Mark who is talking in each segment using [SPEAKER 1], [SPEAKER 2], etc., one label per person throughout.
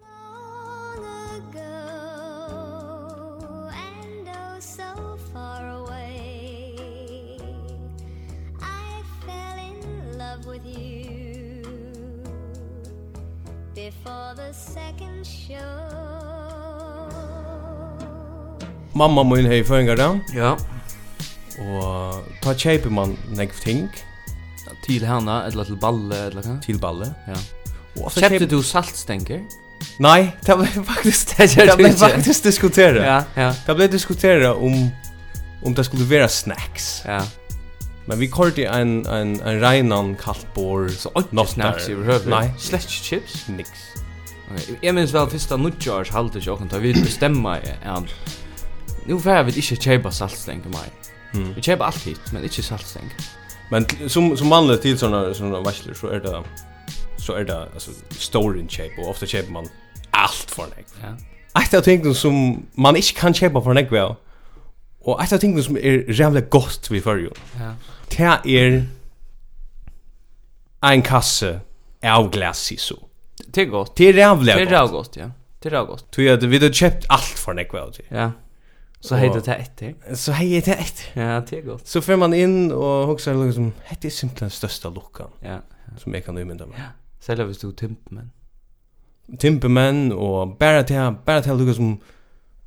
[SPEAKER 1] oh, before the second show.
[SPEAKER 2] Mamma mun hei føingar dan
[SPEAKER 3] Ja,
[SPEAKER 2] og ta kjeipi man negv ting
[SPEAKER 3] til henne, eller til balle, eller hva?
[SPEAKER 2] til balle.
[SPEAKER 3] Ja.
[SPEAKER 2] Og ofta
[SPEAKER 3] Kjøpte
[SPEAKER 2] kjeipi-
[SPEAKER 3] du saltstenger?
[SPEAKER 2] Nei, det var faktisk
[SPEAKER 3] Det gjør
[SPEAKER 2] Det
[SPEAKER 3] du
[SPEAKER 2] ble
[SPEAKER 3] ikke.
[SPEAKER 2] faktisk diskutera.
[SPEAKER 3] Ja, ja,
[SPEAKER 2] Det ble diskutera om om det um- skulle vara snacks.
[SPEAKER 3] ja.
[SPEAKER 2] Men vi korte en en en reinan kaltbor så
[SPEAKER 3] Ikke snacks i behøver.
[SPEAKER 2] Nei,
[SPEAKER 3] Slett ikke chips.
[SPEAKER 2] niks.
[SPEAKER 3] Okay. Jeg minns vel første nudjars halte ikke åkken, da vi bestemmer er at nu får vi ikke kjøpe saltstenger mer.
[SPEAKER 2] Mm.
[SPEAKER 3] Vi kjøper alt hit, men ikke saltstenger.
[SPEAKER 2] Men t- som som vanligt till såna såna varsler så är det så är det alltså store in shape och ofta köper man allt för nek.
[SPEAKER 3] Ja.
[SPEAKER 2] Ett av tingen som man inte kan köpa för nek väl. Och ett av tingen som är jävligt gott vi för ju.
[SPEAKER 3] Ja.
[SPEAKER 2] Det är en er kasse av glass i så.
[SPEAKER 3] Det er godt.
[SPEAKER 2] Det är jävligt
[SPEAKER 3] Det
[SPEAKER 2] gott.
[SPEAKER 3] er rau godt, ja. Det er rau godt.
[SPEAKER 2] Tror jag att vi har köpt allt för nek väl.
[SPEAKER 3] Ja. Så
[SPEAKER 2] Og-
[SPEAKER 3] heter det etter.
[SPEAKER 2] Så hej det ett.
[SPEAKER 3] Ja, det er godt.
[SPEAKER 2] Så får man in och huxar liksom, det är er simpelthen största luckan
[SPEAKER 3] Ja.
[SPEAKER 2] som jag kan ymynda mig.
[SPEAKER 3] Ja. Selv hvis du er tymt, men.
[SPEAKER 2] timpermenn og bara til bara til lukka som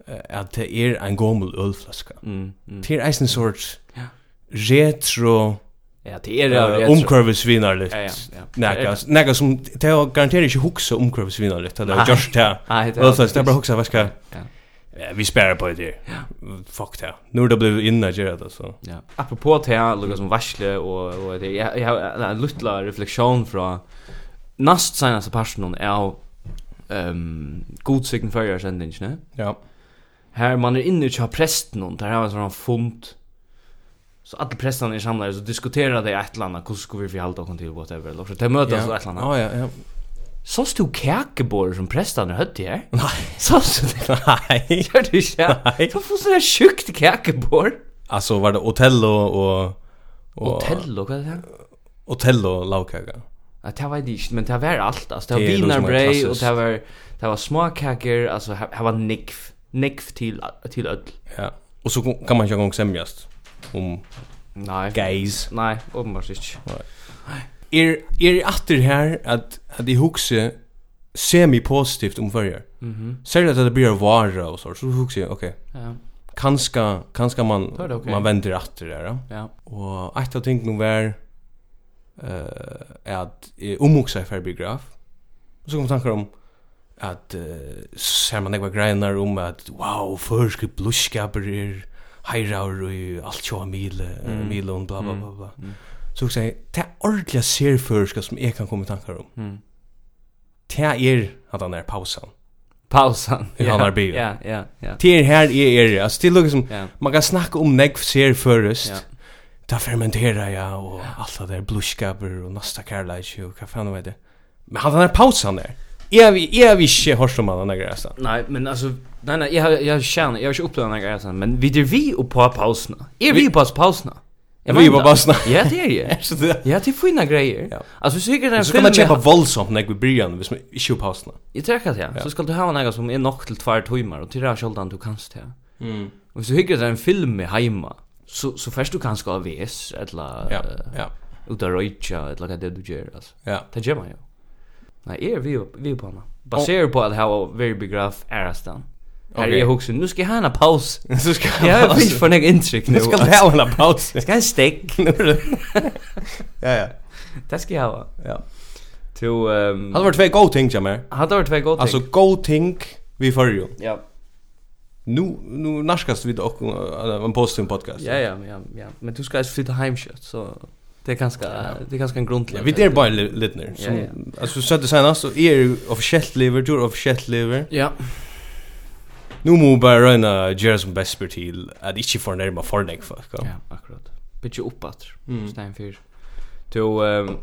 [SPEAKER 2] eh, at det er ein gomul ølflaska.
[SPEAKER 3] Mm, mm.
[SPEAKER 2] Det er eisen sort
[SPEAKER 3] Ja.
[SPEAKER 2] retro
[SPEAKER 3] Ja, det er rau
[SPEAKER 2] eh, omkurvesvinarligt.
[SPEAKER 3] Ja, Er ja, ja.
[SPEAKER 2] Nekka, nekka som, det har garanterat ikke huksa omkurvesvinarligt, det har
[SPEAKER 3] Nei.
[SPEAKER 2] gjørst det.
[SPEAKER 3] Nei, Ah, det
[SPEAKER 2] Ølflaska, det er bare huksa, hva skal,
[SPEAKER 3] Ja.
[SPEAKER 2] Ja, vi spærer Eh, på det her. Fuck det. Nu er det blevet inna gjerra det, så.
[SPEAKER 3] Ja. Apropos det här, Lucas som varsle och och det jag jag har en lilla reflektion från näst senaste personen är ehm god sign för jag sen inte.
[SPEAKER 2] Ja.
[SPEAKER 3] Här man är inne och har prästen och där har man sån funt. Så alla prästarna är samlade så diskuterar det ett landa hur ska vi förhålla oss till whatever. Låt oss ta mötas och ett landa.
[SPEAKER 2] Ja, ja, ja.
[SPEAKER 3] Så stod kakebord som er prästarna hade här. Nej. Så så
[SPEAKER 2] Nei.
[SPEAKER 3] gör du inte.
[SPEAKER 2] Nei.
[SPEAKER 3] Så får så där sjukt kakebord.
[SPEAKER 2] Altså, var det Otello och... och-
[SPEAKER 3] Hotell och vad är det? här?
[SPEAKER 2] Otello laukaka.
[SPEAKER 3] Ja, det var det ikke, men det var alt. Altså, det
[SPEAKER 2] Det er
[SPEAKER 3] var
[SPEAKER 2] noe som er
[SPEAKER 3] vinarbrei, og
[SPEAKER 2] klassiskt.
[SPEAKER 3] det var, det var småkaker, altså, her- her var nikv, nikv til, til ødel.
[SPEAKER 2] Ja. Och så kom- kan man ju gång sämjast om
[SPEAKER 3] Nei.
[SPEAKER 2] gays.
[SPEAKER 3] Nei, åpenbart ikke.
[SPEAKER 2] Er er atter här att att i huxe semi positivt om förr. Mhm. Säger att det blir vara och så så huxe okej. Okay.
[SPEAKER 3] Ja,
[SPEAKER 2] Kanska kanska man
[SPEAKER 3] Då är det okej.
[SPEAKER 2] man vänder atter där. ja.
[SPEAKER 3] ja.
[SPEAKER 2] Och ett av ting nu var eh är att eh, omhuxa för biograf. Och så kom tankar om att eh, ser man några grejer om att wow förskri bluskaper är hejrar och er allt så mile mm. mile och bla bla bla bla. Så också det är er ordentliga serförska som jag kan komma i tankar um." er, om.
[SPEAKER 3] Mm.
[SPEAKER 2] Det är att han är pausen.
[SPEAKER 3] Pausan.
[SPEAKER 2] I Hallar Bio.
[SPEAKER 3] Ja, ja, ja.
[SPEAKER 2] Det är här är är alltså det lukar som
[SPEAKER 3] Ja.
[SPEAKER 2] man kan snacka om negv serförst.
[SPEAKER 3] Ja.
[SPEAKER 2] Ja. Ta fermentera ja och allt det där bluskaper och nästa karlage och vad fan vet er det. Men han har pausen där. Jag vi jag vi inte hörst om han där grejen.
[SPEAKER 3] Nei, men altså, nei, nei, jeg har, jeg har kjenner, jeg har ikke opplevd noen greier sånn, men vi er vi og på pausene. Er vi på pausene? Jeg
[SPEAKER 2] Vi er
[SPEAKER 3] mener
[SPEAKER 2] på
[SPEAKER 3] det.
[SPEAKER 2] pausene.
[SPEAKER 3] Ja, det er jeg.
[SPEAKER 2] Så det
[SPEAKER 3] Ja, det er fina greier.
[SPEAKER 2] Ja.
[SPEAKER 3] Altså, sikkert er den
[SPEAKER 2] så kan man
[SPEAKER 3] filmen-
[SPEAKER 2] köpa våldsamt när vi börjar hvis man inte har pausen.
[SPEAKER 3] Jeg trekker det, ja. Så skal du ha en egen som er nok til tvær timer, og til det er sjeldan du kanst det.
[SPEAKER 2] Mm.
[SPEAKER 3] Og hvis du hygger deg en film i heima, så, så først du kanskje av VS, eller
[SPEAKER 2] Ja,
[SPEAKER 3] eh,
[SPEAKER 2] ja,
[SPEAKER 3] ut av røytja, eller hva det er du gjør, altså.
[SPEAKER 2] ja.
[SPEAKER 3] Det gjør man jo. Nei, jeg er vi, vi er på henne. Baserer på at her var very begraf ærastan. Her
[SPEAKER 2] Ok.
[SPEAKER 3] er jeg hokser, nu skal jeg ha en paus.
[SPEAKER 2] Så ska
[SPEAKER 3] Jeg har finnes for nek inntrykk
[SPEAKER 2] Nu
[SPEAKER 3] nå.
[SPEAKER 2] ska det ha en paus. er
[SPEAKER 3] Jeg skal ha en stek.
[SPEAKER 2] Ja ja.
[SPEAKER 3] Det skal jeg ha.
[SPEAKER 2] Ja.
[SPEAKER 3] To, um,
[SPEAKER 2] Hade varit två goda ting jammer.
[SPEAKER 3] hadde vært tvei godt.
[SPEAKER 2] Alltså goda ting vi förr.
[SPEAKER 3] ja.
[SPEAKER 2] Nu nu naskas vi dock eh, en positiv podcast.
[SPEAKER 3] Ja, ja, ja, ja. Men du skal altså flytte heimkjøtt, så det er ganske, det er ganske en grunn til
[SPEAKER 2] Ja,
[SPEAKER 3] at-
[SPEAKER 2] vi der bara litner.
[SPEAKER 3] Ja,
[SPEAKER 2] Som,
[SPEAKER 3] ja.
[SPEAKER 2] Alltså så det senast så är ju officiellt lever, du är officiellt lever.
[SPEAKER 3] Ja,
[SPEAKER 2] Nu må vi bara röna göra som bäst för till att inte förnärma förnäck folk. Ja.
[SPEAKER 3] ja, akkurat. Bitje oppatter,
[SPEAKER 2] Mm.
[SPEAKER 3] stein fyr. To, um,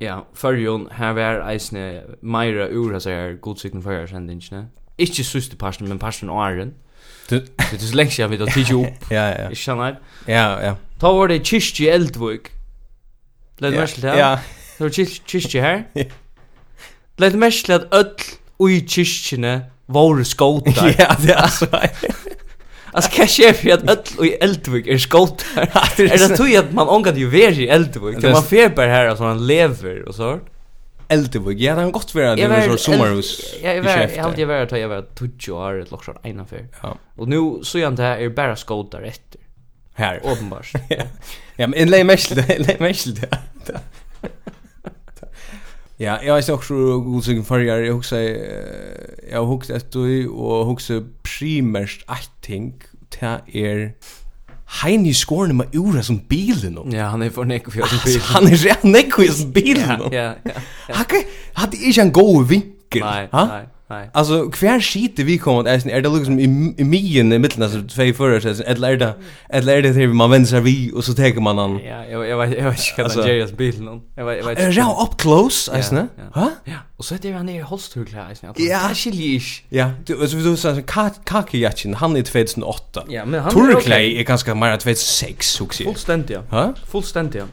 [SPEAKER 3] ja, fyrjon, her var eisne meira ur, altså her, godsikten fyrjar sendingene. Ikke søste parsten, men parsten og æren.
[SPEAKER 2] Du-
[SPEAKER 3] Det er så lenge siden vi da tidsi opp,
[SPEAKER 2] Ja, ja.
[SPEAKER 3] ikke kjenner.
[SPEAKER 2] Ja, ja.
[SPEAKER 3] Ta var det kyrkje i Eldvik. Leit merke til det?
[SPEAKER 2] Ja.
[SPEAKER 3] Det var kyr- kyrkje her.
[SPEAKER 2] Ja.
[SPEAKER 3] Leit merke til at öll ui kyrkjene våre skåtar.
[SPEAKER 2] Ja, det är så.
[SPEAKER 3] Altså, hva skjer for at öll i Eldvik er skåtar? Er det tog at man ångat jo veri i Eldvik?
[SPEAKER 2] Det
[SPEAKER 3] Det
[SPEAKER 2] er-
[SPEAKER 3] man fer bare her, altså man lever og så.
[SPEAKER 2] Eldevik. Ja, det har gått vera det er
[SPEAKER 3] Jag
[SPEAKER 2] var
[SPEAKER 3] var-
[SPEAKER 2] så sommarhus.
[SPEAKER 3] Ja, jag var
[SPEAKER 2] i Skellefteå.
[SPEAKER 3] jag hade jag varit jag var 20 år ett lockshot ena för.
[SPEAKER 2] Ja.
[SPEAKER 3] Och nu så är inte här är er bara skådar efter.
[SPEAKER 2] Här.
[SPEAKER 3] Uppenbart.
[SPEAKER 2] Ja, men lägg mest lägg mest det. Ja, jag är också god sig för jag jag också eh, jag hooks att du och hooks primärt ett ting ta er Heini skorne med ura som bilen om.
[SPEAKER 3] Ja, han är för nek för
[SPEAKER 2] Alltså, er han är rätt nekko i som bilen om.
[SPEAKER 3] Ja, ja.
[SPEAKER 2] Han kan- hade inte en god vinkel.
[SPEAKER 3] Nej,
[SPEAKER 2] ha?
[SPEAKER 3] nej, nej.
[SPEAKER 2] Alltså kvar skit vi kommer att är det liksom i i mien i mitten alltså två förare så eller är det eller är det hur man vänder sig vi och så tar man han
[SPEAKER 3] Ja, jag jag vet jag vet inte
[SPEAKER 2] Alltså- Äh,
[SPEAKER 3] vad Jerrys bil någon. Jag vet jag vet.
[SPEAKER 2] Är det
[SPEAKER 3] inte.
[SPEAKER 2] up close,
[SPEAKER 3] Ja,
[SPEAKER 2] alltså?
[SPEAKER 3] ja.
[SPEAKER 2] Ha?
[SPEAKER 3] Ja, och så heter han ner holsturklä i snart.
[SPEAKER 2] Ja.
[SPEAKER 3] chilish.
[SPEAKER 2] Ja, du alltså du sa kakajachin han är 2008.
[SPEAKER 3] Ja, men han
[SPEAKER 2] Turklei är ganska mer 2006 succé.
[SPEAKER 3] Fullständigt. ja.
[SPEAKER 2] Ha?
[SPEAKER 3] Fullständigt. ja.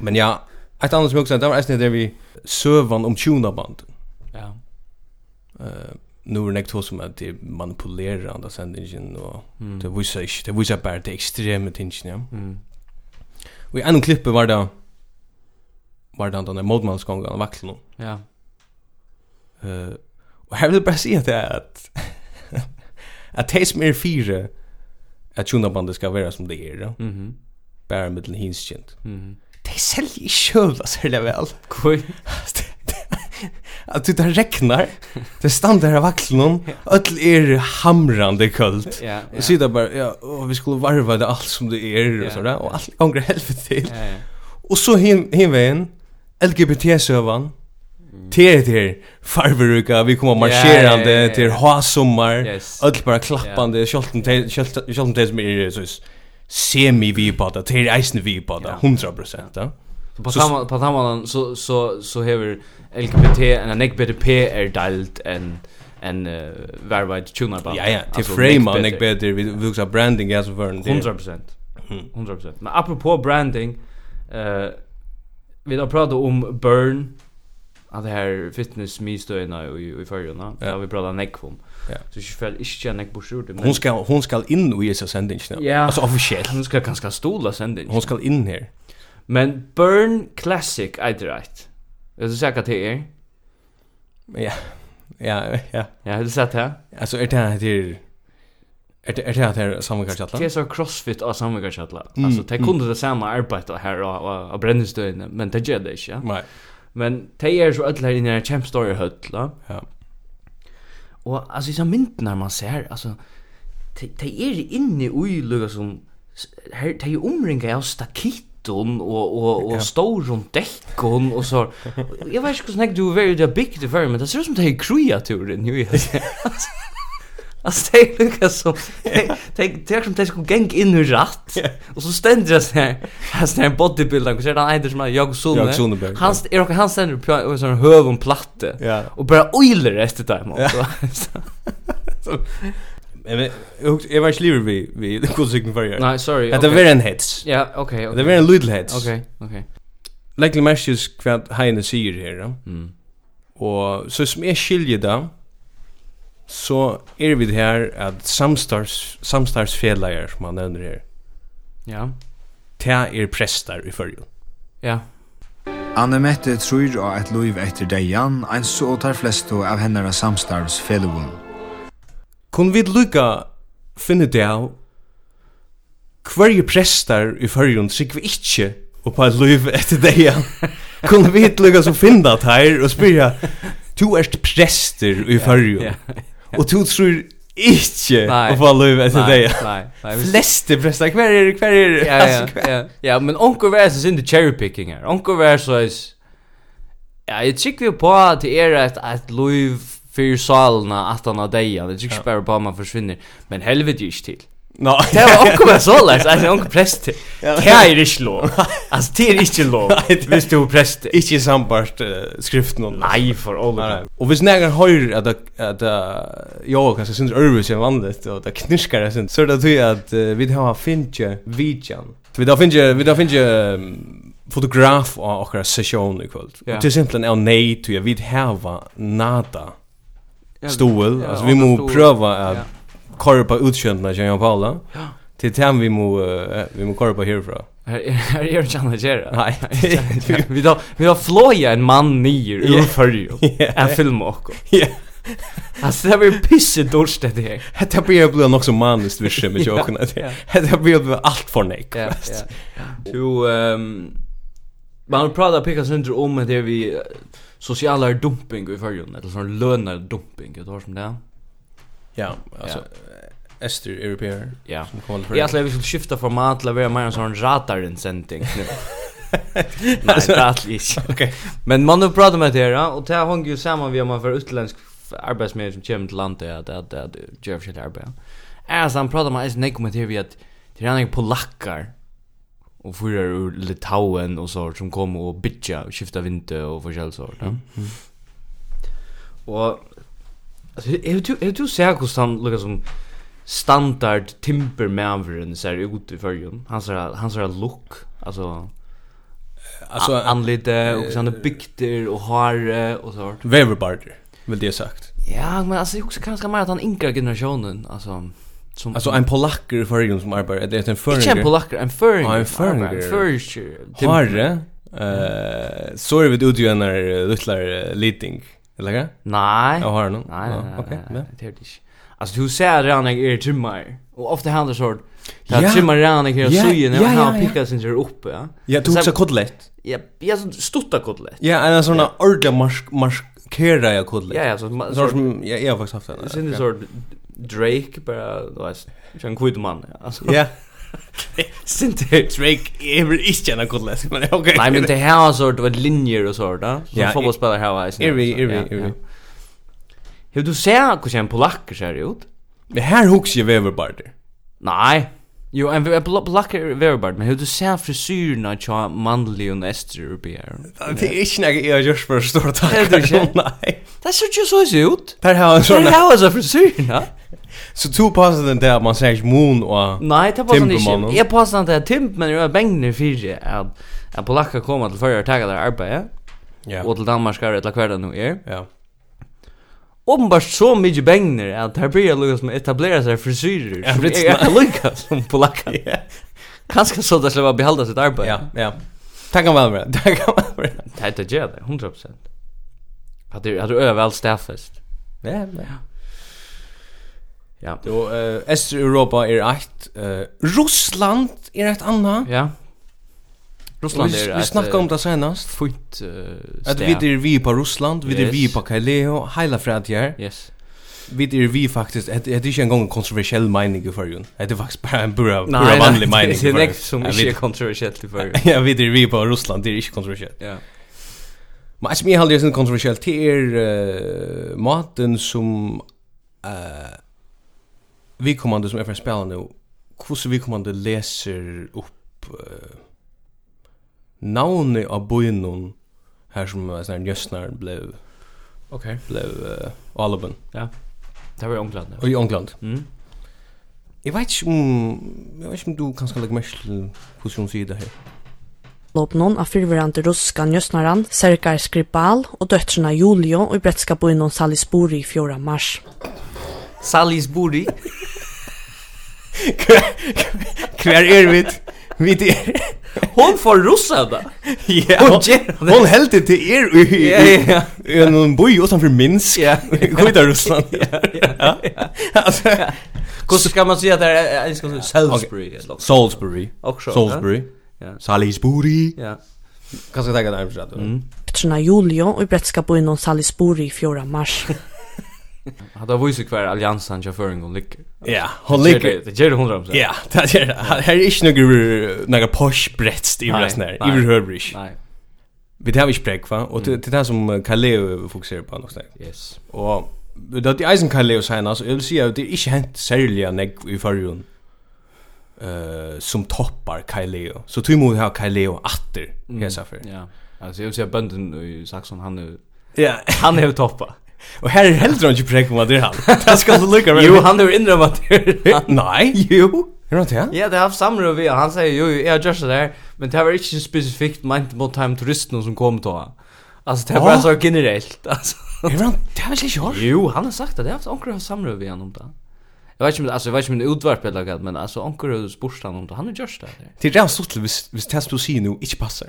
[SPEAKER 2] Men ja, ett annat som jag också det var nästan där vi sövan om tuna band.
[SPEAKER 3] Ja.
[SPEAKER 2] Eh nu är det näkt hos som att det manipulerar andra sändningen och det visar inte, det visar bara det extrema tingen, ja.
[SPEAKER 3] Mm.
[SPEAKER 2] Og i en klippe var det var det den modmansgången av vaklen.
[SPEAKER 3] Ja.
[SPEAKER 2] Uh, og her vil jeg bare si at det er at at det som er fire at tjonabandet skal være som det er, ja,
[SPEAKER 3] Mhm.
[SPEAKER 2] bare med den hinskjent.
[SPEAKER 3] Mhm.
[SPEAKER 2] De selger ikke kjøla særlig vel.
[SPEAKER 3] Kul.
[SPEAKER 2] At det der regnar, det standa her av vaklen, öll er hamrande kaldt.
[SPEAKER 3] Ja. ja.
[SPEAKER 2] Og så er det bare, ja, å, vi skulle varva det alt som det er, og
[SPEAKER 3] Ja.
[SPEAKER 2] sådär, og alt gonger helvete til.
[SPEAKER 3] Ja, ja.
[SPEAKER 2] Og så hin hin vegin LGBT-søvan. Ter ter farveruka vi koma marscherande
[SPEAKER 3] Mm. Ja, ja, ja, ja, ja.
[SPEAKER 2] til ha sommar.
[SPEAKER 3] Yes.
[SPEAKER 2] Öll bara klappande sjolten er te sjolten te som er så semi vi bada til eisne vi bada
[SPEAKER 3] Ja.
[SPEAKER 2] 100% ja.
[SPEAKER 3] På
[SPEAKER 2] Så-
[SPEAKER 3] samma på samma land så så så hever LGBT en en LGBT är dalt en en uh, varvad tunar bara.
[SPEAKER 2] Ja ja, til frame on ek better vi vi hugsa branding as for
[SPEAKER 3] 100%.
[SPEAKER 2] Hmm.
[SPEAKER 3] 100%. Men apropå branding eh vi har pratat om burn av det här fitnessmystöjna i i förrjuna.
[SPEAKER 2] Ja.
[SPEAKER 3] Ja. vi pratat näck om.
[SPEAKER 2] Ja.
[SPEAKER 3] Så jag föll inte känna näck på sjurde. men-
[SPEAKER 2] Hon skal hon skal inn i esa sendingen.
[SPEAKER 3] Ja.
[SPEAKER 2] Altså officiellt.
[SPEAKER 3] hon ska ganska stola sen det.
[SPEAKER 2] Hon skal inn her.
[SPEAKER 3] Men burn classic är det rätt. Jag ska säga att det är.
[SPEAKER 2] Ja. Ja, ja.
[SPEAKER 3] Ja, det satt här.
[SPEAKER 2] Altså er det her til Er det er det her samme kartla?
[SPEAKER 3] Det är så er crossfit av samma chatla. Alltså er det kunde det samma arbeta här och och, och brännestöjna, men det gör det inte. Ja?
[SPEAKER 2] Nei.
[SPEAKER 3] Men er det är så alla här inne i en kämpstor höll.
[SPEAKER 2] Ja.
[SPEAKER 3] Och alltså i så myntnar man ser alltså det det är er inne i lugga som här det är omringat er av stakiton och och och stora däckon och så jag vet inte hur snägg du är very the big the very er men det ser ut som det är kreaturen nu är Alltså det är lugga som det det är som det ska gäng in i ratt och så ständer det så här här står en bodybuilder och så är det en äldre som är jag
[SPEAKER 2] Jörg Sundberg,
[SPEAKER 3] Sundberg
[SPEAKER 2] ja.
[SPEAKER 3] han är han ständer på er en sån höv och platte
[SPEAKER 2] Ja.
[SPEAKER 3] och bara oiler efter det här så
[SPEAKER 2] Men jag var sliver vi vi konsekven för jag.
[SPEAKER 3] Nej, sorry.
[SPEAKER 2] Det
[SPEAKER 3] okej.
[SPEAKER 2] var en hets.
[SPEAKER 3] Ja, okej,
[SPEAKER 2] Det
[SPEAKER 3] okej.
[SPEAKER 2] var en little hets.
[SPEAKER 3] Okej, okej.
[SPEAKER 2] Lägg mestjes kvad Heine sier her. ja.
[SPEAKER 3] Mm.
[SPEAKER 2] Og så som er skilje da så er vi det her at samstars samstarsfelager som han nevner her.
[SPEAKER 3] Ja.
[SPEAKER 2] Ta er prestar i fyrjun.
[SPEAKER 3] Ja.
[SPEAKER 4] Anne Mette tror av et liv etter deian, en så tar flesto av hennara samstarvs fellowun.
[SPEAKER 2] Kun vi lukka finne det av hverje prestar i fyrjun sikk vi ikkje og på et liv etter det ja. Kun vi lukka som finna det her og spyrja Du erst prester i fyrjun
[SPEAKER 3] Ja.
[SPEAKER 2] og du tror ikkje
[SPEAKER 3] Nei.
[SPEAKER 2] og på et liv etter det
[SPEAKER 3] Nej,
[SPEAKER 2] ja.
[SPEAKER 3] nej. nej, visst.
[SPEAKER 2] Fleste prestar, hver er hver er
[SPEAKER 3] Ja, ja, ja. Ja, men onkel var så sin cherry picking här. Onkel var så is Ja, jag tycker ju på att det är ett ett liv för salarna att han har dejan. Det tycker bara på att man försvinner. Men er helvete är inte till.
[SPEAKER 2] Nå,
[SPEAKER 3] Det var onkel var så läs. Alltså onkel präst. Det är inte er lov. Alltså det är inte lov.
[SPEAKER 2] det-
[SPEAKER 3] Visst du är präst.
[SPEAKER 2] ikkje sambart uh, skriften om
[SPEAKER 3] Nej för
[SPEAKER 2] Nei,
[SPEAKER 3] all
[SPEAKER 2] nei. Og hvis nægar høyrer at det- at det- jo, kanskje synes ørvis enn vanligt, og det knirskar jeg synes, så er det tog at eh, vi har finnje vidjan. Vi har finnje, vi har finnje um, fotograf av okkara session i kvöld.
[SPEAKER 3] Ja.
[SPEAKER 2] Og til simpelthen er nei tog jeg vi har nada stål,
[SPEAKER 3] ja,
[SPEAKER 2] altså vi må
[SPEAKER 3] stål.
[SPEAKER 2] prøva at
[SPEAKER 3] Ja.
[SPEAKER 2] korra på utkjöntna kjenn Jan Paula. Til tem vi må, eh, vi må korra på herfra.
[SPEAKER 3] Här är här är inte annat att göra.
[SPEAKER 2] Nej.
[SPEAKER 3] Vi- Vi då vi har flåja en man nyer ur
[SPEAKER 2] Ja.
[SPEAKER 3] fyrjo.
[SPEAKER 2] Ja.
[SPEAKER 3] En film och.
[SPEAKER 2] Ja.
[SPEAKER 3] Alltså det var ju pisse dåligt det här.
[SPEAKER 2] Hetta blir blue nok so manist við skimmi jokin.
[SPEAKER 3] ja.
[SPEAKER 2] Hetta blir blue alt for neck.
[SPEAKER 3] Ja, ja. Du ehm man har pratat picka sönder om det vi eh, sociala dumping i förrjun eller sån lönar dumping er det har som det.
[SPEAKER 2] Ja, alltså Ester europeer.
[SPEAKER 3] Ja.
[SPEAKER 2] Som kommer för.
[SPEAKER 3] Jag tror vi skulle skifta format till att vara mer en sån rataren sending nu. Nej, det är inte.
[SPEAKER 2] Okej.
[SPEAKER 3] Men man har pratat med det här ja, och det här hänger ju samman vid om man får utländsk arbetsmedel som kommer till landet att att att gör för sitt arbete. Alltså han pratar med en nej kommer till vi att det är några polacker och fyra ur Litauen och så som kommer och bitcha och skifta vinter och förskäll så ja. Och alltså är du är du ser hur han lukar som standard timpermanveren ser ut i förrjun. Han ser han ser look alltså
[SPEAKER 2] Alltså
[SPEAKER 3] anlite och såna bygder och har och så.
[SPEAKER 2] Weberbarder, vill det sagt.
[SPEAKER 3] Ja, men alltså jag också kanske mer att han yngre generationen alltså som
[SPEAKER 2] Alltså en polacker för som arbetar, det är en
[SPEAKER 3] inte en
[SPEAKER 2] förringer.
[SPEAKER 3] polacker, en föring.
[SPEAKER 2] Ja, Ah, en föringer.
[SPEAKER 3] En föringer.
[SPEAKER 2] Harre. Eh, Mm. så är vi ute ju när littlar liting. eh, Eller hva?
[SPEAKER 3] Nej.
[SPEAKER 2] Jag har någon.
[SPEAKER 3] Eh. Nej, nej, nej,
[SPEAKER 2] Okej.
[SPEAKER 3] nej, nej, det är det inte. Alltså du ser redan jag är trimmar. Och ofta händer så att
[SPEAKER 2] Ja.
[SPEAKER 3] jag trimmar redan jag är
[SPEAKER 2] Ja,
[SPEAKER 3] sugen
[SPEAKER 2] ja,
[SPEAKER 3] och han
[SPEAKER 2] ja, ja.
[SPEAKER 3] pickar sin sig upp, ja.
[SPEAKER 2] Ja, du
[SPEAKER 3] Så-
[SPEAKER 2] också kodlet.
[SPEAKER 3] Ja, jag så stutta kotlett.
[SPEAKER 2] Ja, en sån där ordla mark markera jag kodlet.
[SPEAKER 3] Ja, ja, så
[SPEAKER 2] En
[SPEAKER 3] ma-
[SPEAKER 2] sån
[SPEAKER 3] så
[SPEAKER 2] som jag jag har faktiskt haft den.
[SPEAKER 3] sin så Drake bara, du vet, jag en kvitt man. ja. Alltså
[SPEAKER 2] Ja.
[SPEAKER 3] Sinter
[SPEAKER 2] Drake är väl inte en kodlet, men okej.
[SPEAKER 3] Nej men det här har sort vad linjer och sånt där. Som
[SPEAKER 2] Ja,
[SPEAKER 3] fotbollsspelare här var.
[SPEAKER 2] är vi är vi är vi.
[SPEAKER 3] Hur du ser hur en polacker ser ut?
[SPEAKER 2] Det här hooks ju Weberbarder.
[SPEAKER 3] Nej. Jo, en en pol- polacker är verbart, men hur du ser frisyrerna tja manlig och östeuropeer.
[SPEAKER 2] Det er är inte något jag görs för stora
[SPEAKER 3] Nej, det är
[SPEAKER 2] tankar.
[SPEAKER 3] inte.
[SPEAKER 2] Nej.
[SPEAKER 3] Det ser ju så ut.
[SPEAKER 2] Per har en
[SPEAKER 3] Så
[SPEAKER 2] sån
[SPEAKER 3] det här var frisyrerna.
[SPEAKER 2] Så to passar den där man säger moon och
[SPEAKER 3] Nej, det var
[SPEAKER 2] Timbermannen.
[SPEAKER 3] inte. Jag påstår inte att timp men jag bängner fyra att att polacker kommer till förra taget där arbete
[SPEAKER 2] ja.
[SPEAKER 3] och till Danmarkar eller kvarden nu är.
[SPEAKER 2] Ja.
[SPEAKER 3] Åpenbart så mycket bängner att här blir jag lukka som etablerar sig frisyrer.
[SPEAKER 2] Ja,
[SPEAKER 3] som
[SPEAKER 2] det er-
[SPEAKER 3] jag kan lukka som polackar. Kanske så att jag slipper behålla sitt arbete.
[SPEAKER 2] Ja, ja. Tack om varandra. Tack om varandra.
[SPEAKER 3] Det här är inte det, 100 procent. Att
[SPEAKER 2] er-
[SPEAKER 3] du att du överallt staffest.
[SPEAKER 2] Ja, ja.
[SPEAKER 3] Ja.
[SPEAKER 2] Då eh Östra Europa är ett eh er Ryssland är ett annat.
[SPEAKER 3] Ja. Ryssland är
[SPEAKER 2] Vi snackar om
[SPEAKER 3] det
[SPEAKER 2] det senast.
[SPEAKER 3] fint
[SPEAKER 2] Att vi är vi på Ryssland, vi är vi
[SPEAKER 3] Yes.
[SPEAKER 2] på Kaleo, hela framtiden.
[SPEAKER 3] Yes.
[SPEAKER 2] Vi är vi faktiskt, det det är inte en gång en kontroversiell mening i förrjun. Det är faktiskt er bara en bra,
[SPEAKER 3] nej,
[SPEAKER 2] bra vanlig
[SPEAKER 3] det-
[SPEAKER 2] mening i
[SPEAKER 3] Det är
[SPEAKER 2] förrjun.
[SPEAKER 3] näst som
[SPEAKER 2] Ja,
[SPEAKER 3] inte är
[SPEAKER 2] vi-
[SPEAKER 3] kontroversiellt i förr.
[SPEAKER 2] Ja, vi är vi på Ryssland, det är inte kontroversiellt.
[SPEAKER 3] Ja.
[SPEAKER 2] Men alltså mig håller ju sin kontroversiellt till er eh, maten som eh er vi kommande som är för spela nu. Hur vi kommande läser upp eh navnet av bojnon här som eh, sån här njösnar blev
[SPEAKER 3] Okej.
[SPEAKER 2] blev eh, Alban
[SPEAKER 3] Det var i England.
[SPEAKER 2] och i England.
[SPEAKER 3] Mm.
[SPEAKER 2] Jag vet inte om jag vet inte om du kanske lägger mest till hur som säger det här.
[SPEAKER 5] Lopnon av fyrverande ruskan Jösnaran, Sergej Skripal och döttrarna Julio i bretska boinon Salisbury i 4 mars.
[SPEAKER 3] Salisbury.
[SPEAKER 2] Kvar
[SPEAKER 3] er
[SPEAKER 2] är vi? Vi är
[SPEAKER 3] Hon får russa då.
[SPEAKER 2] Ja,
[SPEAKER 3] Hon ger det.
[SPEAKER 2] er- hon held det til er i, i,
[SPEAKER 3] Ja,
[SPEAKER 2] i,
[SPEAKER 3] ja.
[SPEAKER 2] i en boi utanfor Minsk,
[SPEAKER 3] Ja.
[SPEAKER 2] kvita Russland.
[SPEAKER 3] Hur ska man säga att det är en sån er Salisbury eller något?
[SPEAKER 2] Salisbury,
[SPEAKER 3] Också. ja?
[SPEAKER 2] Salisbury,
[SPEAKER 3] Ja.
[SPEAKER 2] Salisbury.
[SPEAKER 3] Ja.
[SPEAKER 2] Kanskje jeg tenker det er for seg.
[SPEAKER 3] Mm.
[SPEAKER 5] Döttrarna Julio i bretska boinon Salisbury i 4 mars.
[SPEAKER 3] Hade jag visst kvar alliansen jag för en gång ligger.
[SPEAKER 2] Ja, hon ligger.
[SPEAKER 3] Det ger 100%.
[SPEAKER 2] Ja, det er det. Her er ikke noe noe posh-brett i
[SPEAKER 3] Nei,
[SPEAKER 2] resten her.
[SPEAKER 3] nei.
[SPEAKER 2] I høver ikke.
[SPEAKER 3] Nej.
[SPEAKER 2] Vi tar ikke brekk, va? Og det det er det som eh, Kaleo fokuserer på nok snakk.
[SPEAKER 3] Yes.
[SPEAKER 2] Og det er eisen Kaleo senast, og jeg vil si at det er ikke hent særlig negv i fargen eh som toppar Kaleo. Så du må ha Kaleo atter, hesa for.
[SPEAKER 3] Mm. Ja. Alltså jag vill säga bönden i Saxon han är
[SPEAKER 2] Ja,
[SPEAKER 3] han är toppa.
[SPEAKER 2] og her er heldur han ikke prekk om at det er han. Det skal du lukka
[SPEAKER 3] Jo, han är indramat.
[SPEAKER 2] Eh, Nei, jo. Er han til?
[SPEAKER 3] Ja, det har haft samråd vi. Han säger jo, jag gör så där, men det var inte specifikt meant mot time turisten som kom då. Alltså det var
[SPEAKER 2] Hva?
[SPEAKER 3] så generellt alltså.
[SPEAKER 2] Er han til? Det er vel ikke hår?
[SPEAKER 3] Jo, han har sagt att det har haft onkel samråd vi han om det. Jag vet inte, alltså jag vet inte om det utvarp eller något, men alltså onkel har spurt han om det. Han är just där.
[SPEAKER 2] Det är rätt stort hvis hvis det som du sier nu ikke passer.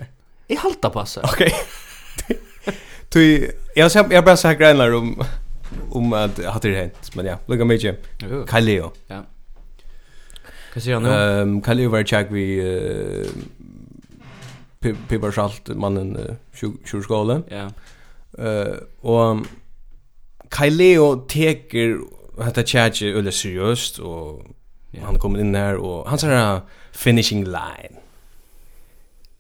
[SPEAKER 3] Jag halta passa.
[SPEAKER 2] Okej. Du jag har jag har bara sagt grejer om om att jag hade det hänt er men ja, lugga mig.
[SPEAKER 3] Jo.
[SPEAKER 2] Kaleo.
[SPEAKER 3] Ja. Vad säger han nu?
[SPEAKER 2] Ehm Kaleo var check vi eh, Pe- Pippa Schalt mannen eh, sju- sjúrskóla.
[SPEAKER 3] Ja.
[SPEAKER 2] Eh och Kaleo teker hetta tjatje ulle seriöst och
[SPEAKER 3] Ja.
[SPEAKER 2] han kommer in där och han säger finishing line.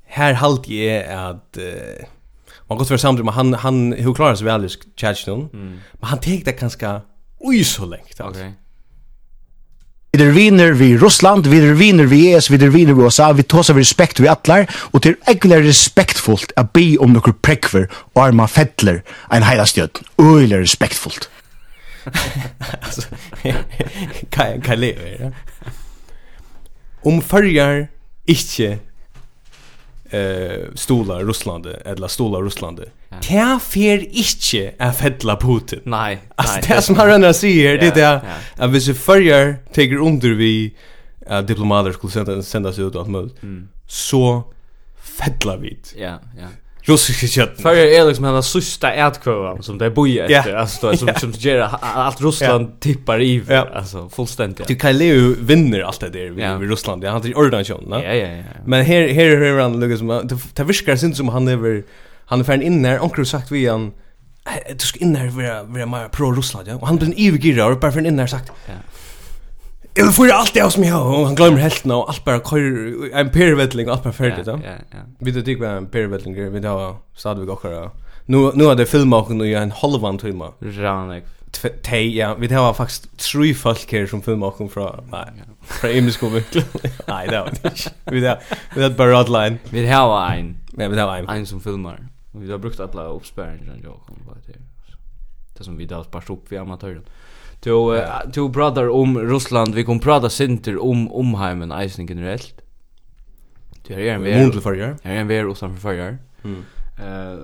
[SPEAKER 2] Här halt jag att eh, man går för samtidigt men han han hur klarar sig väl i tjatjen
[SPEAKER 3] Mm.
[SPEAKER 2] men han tek det ganska oj så längt. alltså.
[SPEAKER 3] Okej.
[SPEAKER 6] Vi er viner vi i Russland, vi er viner vi i ES, vi er viner vi i USA, vi tåser vi respekt vi atlar, og det er egentlig respektfullt at be om noen prekver og arma fettler en heilastjød. Øyler respektfullt.
[SPEAKER 2] Alltså kan kan leva ja. Om följer inte eh stolar Ryssland eller stolar Ryssland. Det fer inte att fälla Putin.
[SPEAKER 3] Nej.
[SPEAKER 2] Alltså
[SPEAKER 3] nej,
[SPEAKER 2] det er som han redan säger det är
[SPEAKER 3] er Ja,
[SPEAKER 2] det
[SPEAKER 3] ja.
[SPEAKER 2] att hvis vi följer tager under vi att diplomater skulle sända sändas ut åt möjligt
[SPEAKER 3] Mm.
[SPEAKER 2] så fälla vi
[SPEAKER 3] Ja, ja.
[SPEAKER 2] russiska kött.
[SPEAKER 3] För jag är liksom den sista ätkvarvan som det er bojer efter,
[SPEAKER 2] Ja.
[SPEAKER 3] alltså då, som, som ger a- allt Russland tippar i,
[SPEAKER 2] Ja.
[SPEAKER 3] alltså fullständigt.
[SPEAKER 2] Du kan ju vinner allt det där
[SPEAKER 3] Ja.
[SPEAKER 2] vid- vid Ryssland. Han er har ordat sjön,
[SPEAKER 3] Ja, ja, ja. ja.
[SPEAKER 2] Men her her her han Lucas det viskar synd som han över han er är färd in där onkel har sagt vi han "Eh, du ska in där vara vara mer pro Ryssland ja och han er blir en evigirra och bara för in där sagt
[SPEAKER 3] Ja.
[SPEAKER 2] Jag får allt det som jag har och han glömmer helt nu och allt bara kör en pervetling allt bara färdigt
[SPEAKER 3] Ja,
[SPEAKER 2] ja.
[SPEAKER 3] ja, ja.
[SPEAKER 2] Vi det tycker en pervetling vi det har Sadvik och här. Nu nu har er det filmat och nu är en halvan timme.
[SPEAKER 3] Ranek.
[SPEAKER 2] Tve- Tej, ja, vi det har faktiskt tre folk här som filmar oss från nej, från Emisko Nej, det har vi inte. Vi det vi det bara outline.
[SPEAKER 3] Vi har en,
[SPEAKER 2] Nej, vi det har en.
[SPEAKER 3] en som filmar. Och vi har brukt alla uppspärringar jag kom på det. Det som vi har sparat upp vid amatören. Du, eh, du pratar om Russland, vi kommer prata sinter om omheimen eisen generellt. Du har en
[SPEAKER 2] Mån till förrjar.
[SPEAKER 3] Her er en ver utanfor førjar.
[SPEAKER 2] Mm.
[SPEAKER 3] Eh,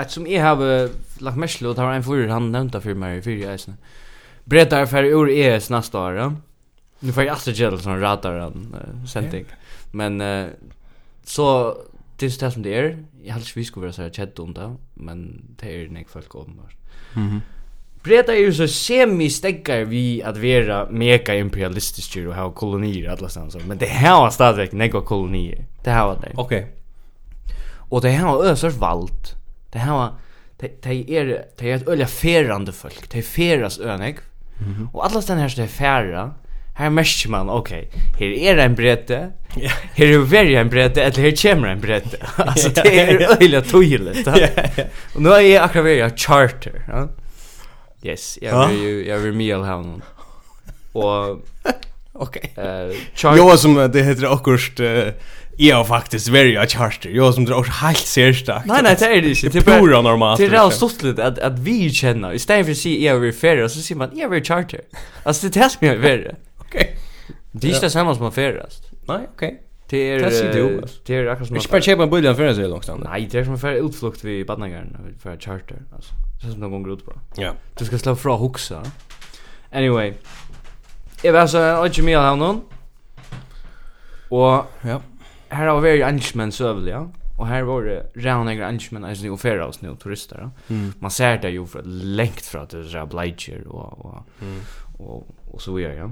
[SPEAKER 3] et som jeg har eh, lagt mest til, og det var en fyrir han nevnte for meg i fyrir eisene. Bretar E fer ur ES neste år, ja. Nu får jeg alltid gjøre sånn radar han uh, sending. Men eh, så, det er det som det er. Jeg helst vi skulle være så kjedd om det, um men det er nek folk åpenbart. Breta er jo så semi-steggar vi at vera mega-imperialistiske og hava kolonier alla stans. Men det hava stadigvæk negva kolonier. Det hava det.
[SPEAKER 2] Okej.
[SPEAKER 3] Og det här har ösers vald. Det här det är det är ett öliga färande folk. Det är färas önek. Och alla ställen här så det är färra. Här märker man, okej, här är det en brette, här är det en brette, eller här kommer en brette. Alltså det är öliga tydligt. ja. Och nu är jag akkurat värja charter. Ja? Yes, jag vill ju, jag vill mjöl här någon. Och
[SPEAKER 2] Okej.
[SPEAKER 3] eh
[SPEAKER 2] Jo
[SPEAKER 3] charter,
[SPEAKER 2] var som eh, det heter akkurst eh jag har faktiskt very a charter. Jag som drar helt särskilt.
[SPEAKER 3] Nej, nej, det är det inte.
[SPEAKER 2] Det
[SPEAKER 3] Det
[SPEAKER 2] är
[SPEAKER 3] är bara-
[SPEAKER 2] pura normalt.
[SPEAKER 3] Det är rätt
[SPEAKER 2] liksom.
[SPEAKER 3] stort lite att, att vi känner, istället för att säga jag vill färra, er så säger man jag vill charter. Alltså det är det som jag vill
[SPEAKER 2] Okej.
[SPEAKER 3] Det är inte samma som man färras.
[SPEAKER 2] Nej, okej.
[SPEAKER 3] Det är...
[SPEAKER 2] Det er ser du,
[SPEAKER 3] eh,
[SPEAKER 2] alltså.
[SPEAKER 3] Det är akkurat som
[SPEAKER 2] Vi ska bara köpa en bullion för det så långt stan.
[SPEAKER 3] Nej, det är som att färra utflukt vid badnagarna, vid färra charter. Alltså, det är som någon går ut bra.
[SPEAKER 2] Ja.
[SPEAKER 3] Du ska slå fra huxa. Anyway. er Jag var alltså, jag har inte mer av någon. Och
[SPEAKER 2] Ja.
[SPEAKER 3] här har vi arrangemang sövel, ja. Och här var det redan några arrangemang alltså nu för oss nu turister. Ja. Man ser det ju för längt från att det är så här bliger och och, och och så vidare, ja.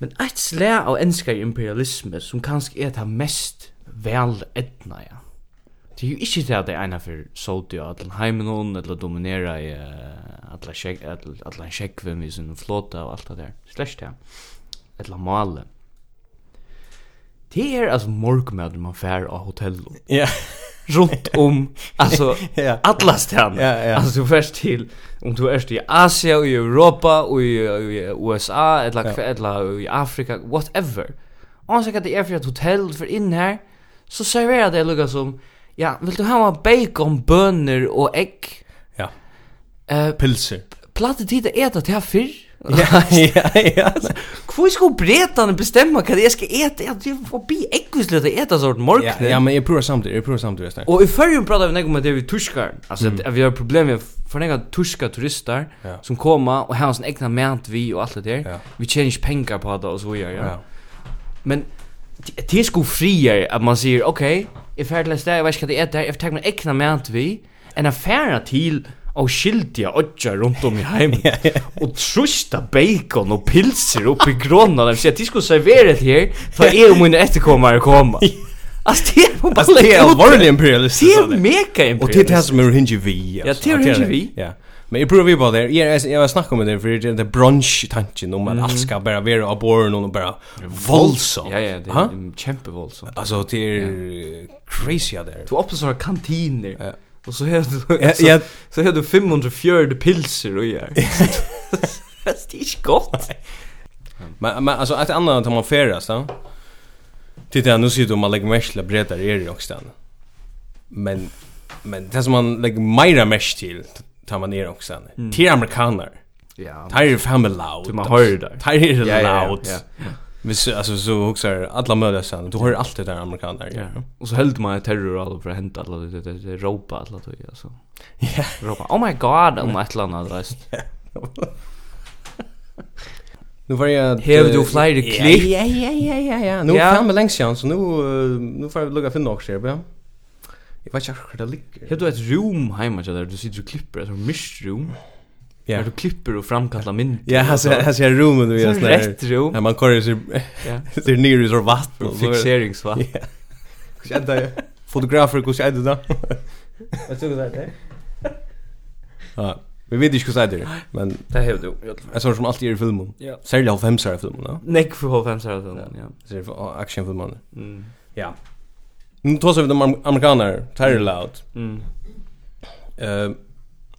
[SPEAKER 3] Men ett slä av enska imperialisme som kanske är det er mest väl etna, ja. Det er är ju inte det att det är ena för Saudi och Atlanheimenon eller dominera i eh, Atlanheimenon i sin flåta och allt det där. Slash det. Eller male. Det är alltså morgmöden man fär av hotell
[SPEAKER 2] Ja.
[SPEAKER 3] runt om alltså
[SPEAKER 2] Ja.
[SPEAKER 3] alla ställen.
[SPEAKER 2] Ja, ja.
[SPEAKER 3] Alltså först till om du är i Asia och i Europa och i, i USA eller
[SPEAKER 2] Ja.
[SPEAKER 3] ja. eller i Afrika whatever. Och så kan det är för ett hotell för in här så serverar det lugga som ja, vill du ha bacon, bönor och ägg?
[SPEAKER 2] Ja.
[SPEAKER 3] Eh,
[SPEAKER 2] Pilser.
[SPEAKER 3] platte tid att äta det här förr.
[SPEAKER 2] Ja, ja, ja.
[SPEAKER 3] Hvor skal bretene bestemme hva jeg skal ete? Jeg det er forbi ekkuslet å ete sånn
[SPEAKER 2] Ja,
[SPEAKER 3] morgen.
[SPEAKER 2] ja, men er jeg prøver samtidig, jeg prøver samtidig. Jesper.
[SPEAKER 3] Og i förrjun pratar um vi något om att det är vi turskar. Alltså att vi har problem med för några turska turister
[SPEAKER 2] Mm. Ja.
[SPEAKER 3] som kommer och har sin egna mat vi och allt det där.
[SPEAKER 2] Ja.
[SPEAKER 3] Vi tjänar inte pengar på det och så vidare. Ja.
[SPEAKER 2] Ja.
[SPEAKER 3] Men det- det är er sko friare att man säger okej, jag färd till ett ställe, jag vet inte vad det är där, jag tar min egna mat vi än att färda till och skiltiga ötjar runt um om i hemmet och trusta bacon och pilser upp i grånna där så att de skulle servera det här för jag och mina efterkommare komma. Alltså det är bara
[SPEAKER 2] Alltså det är
[SPEAKER 3] lägga ut
[SPEAKER 2] allvarlig imperialist.
[SPEAKER 3] Det är
[SPEAKER 2] alltså.
[SPEAKER 3] mega
[SPEAKER 2] Och det är det här
[SPEAKER 3] imperialist.
[SPEAKER 2] som är hinge vi. alltså.
[SPEAKER 3] Ja, det är
[SPEAKER 2] Att
[SPEAKER 3] hinge vi.
[SPEAKER 2] Ja. Men jag prövar vi på det. Jag jag har snackat om det för det är brunch tanken om att um allt ska bara vara av borgen och bara våldsamt.
[SPEAKER 3] Mhm. Ja, ja, det
[SPEAKER 2] Ha?
[SPEAKER 3] är en kämpevoldsamt.
[SPEAKER 2] Alltså det är crazy out there.
[SPEAKER 3] Du öppnar sådana kantiner.
[SPEAKER 2] Ja.
[SPEAKER 3] Och så har du
[SPEAKER 2] Ja,
[SPEAKER 3] så,
[SPEAKER 2] ja.
[SPEAKER 3] så har du 540 pilser och gör. Fast det
[SPEAKER 2] er
[SPEAKER 3] är inte gott.
[SPEAKER 2] Men men alltså att andra tar man färdas då. Titta nu ser du om man lägger mest breddar är det också. den. Men men det som man lägger mera mest till tar
[SPEAKER 3] er
[SPEAKER 2] man ner också. den. Till amerikaner.
[SPEAKER 3] Ja.
[SPEAKER 2] Tar ju fram loud.
[SPEAKER 3] Du man hör det där.
[SPEAKER 2] Tar ju
[SPEAKER 3] Ja, ja,
[SPEAKER 2] loud.
[SPEAKER 3] ja.
[SPEAKER 2] Hvis, alltså så också alla möjliga sen. Du hör allt det där amerikaner.
[SPEAKER 3] Ja. Och så höll man ett terror alla för att hämta alla det det det ropa alla då alltså. Ja. Ropa. Oh my god, om ett land hade rest.
[SPEAKER 2] Nu var jag
[SPEAKER 3] Hev du flyr
[SPEAKER 2] eh, Ja,
[SPEAKER 3] klipp.
[SPEAKER 2] Ja ja ja ja ja. Nu
[SPEAKER 3] Ja.
[SPEAKER 2] fram med längst igen så nu eh, nu får jag lugga finna också ja. Jag vet inte hur det ligger.
[SPEAKER 3] Hev du ett rum hemma så där du sitter och klipper ett myschrum.
[SPEAKER 2] Ja.
[SPEAKER 3] Där du klipper och framkallar min.
[SPEAKER 2] Ja, här ser här ser rummen du
[SPEAKER 3] Så
[SPEAKER 2] är
[SPEAKER 3] är det rätt rum.
[SPEAKER 2] Ja, man kör sig
[SPEAKER 3] Ja.
[SPEAKER 2] det är nere i så vatten och så är det-
[SPEAKER 3] Fixeringsvatt.
[SPEAKER 2] Ja. Hur ska jag fotografer hur ska jag då? Jag tror det är det. Ja, vi vet inte hur det är, men
[SPEAKER 3] Det hev du. i alla fall.
[SPEAKER 2] jag tror som alltid er är i filmen.
[SPEAKER 3] Ja.
[SPEAKER 2] Särskilt av femsare filmen, ja.
[SPEAKER 3] Neck för H5 så där. Ja.
[SPEAKER 2] Så det är actionfilmen.
[SPEAKER 3] Mm.
[SPEAKER 2] Ja. Nu tar vi de amer- amerikaner, Terry Loud.
[SPEAKER 3] Mm.
[SPEAKER 2] Eh,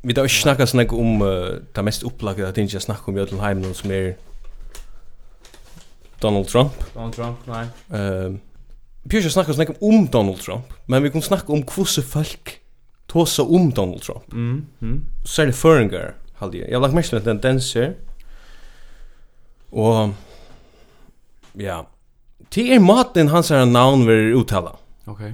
[SPEAKER 2] vi tar ikke snakka snakka om uh, det mest opplagget at ikke snakka um om i Jødel Heimen som er Donald Trump.
[SPEAKER 3] Donald Trump, nej.
[SPEAKER 2] Uh, vi har ikke snakka snakka om um Donald Trump, men vi kan snakka um om hvordan folk tåsa om um Donald Trump.
[SPEAKER 3] Mm. Mm.
[SPEAKER 2] Så er det føringar, halde jeg. Jeg har lagt mest til tendenser. Og, ja, til er maten hans her navn vil uttala.
[SPEAKER 3] Okej.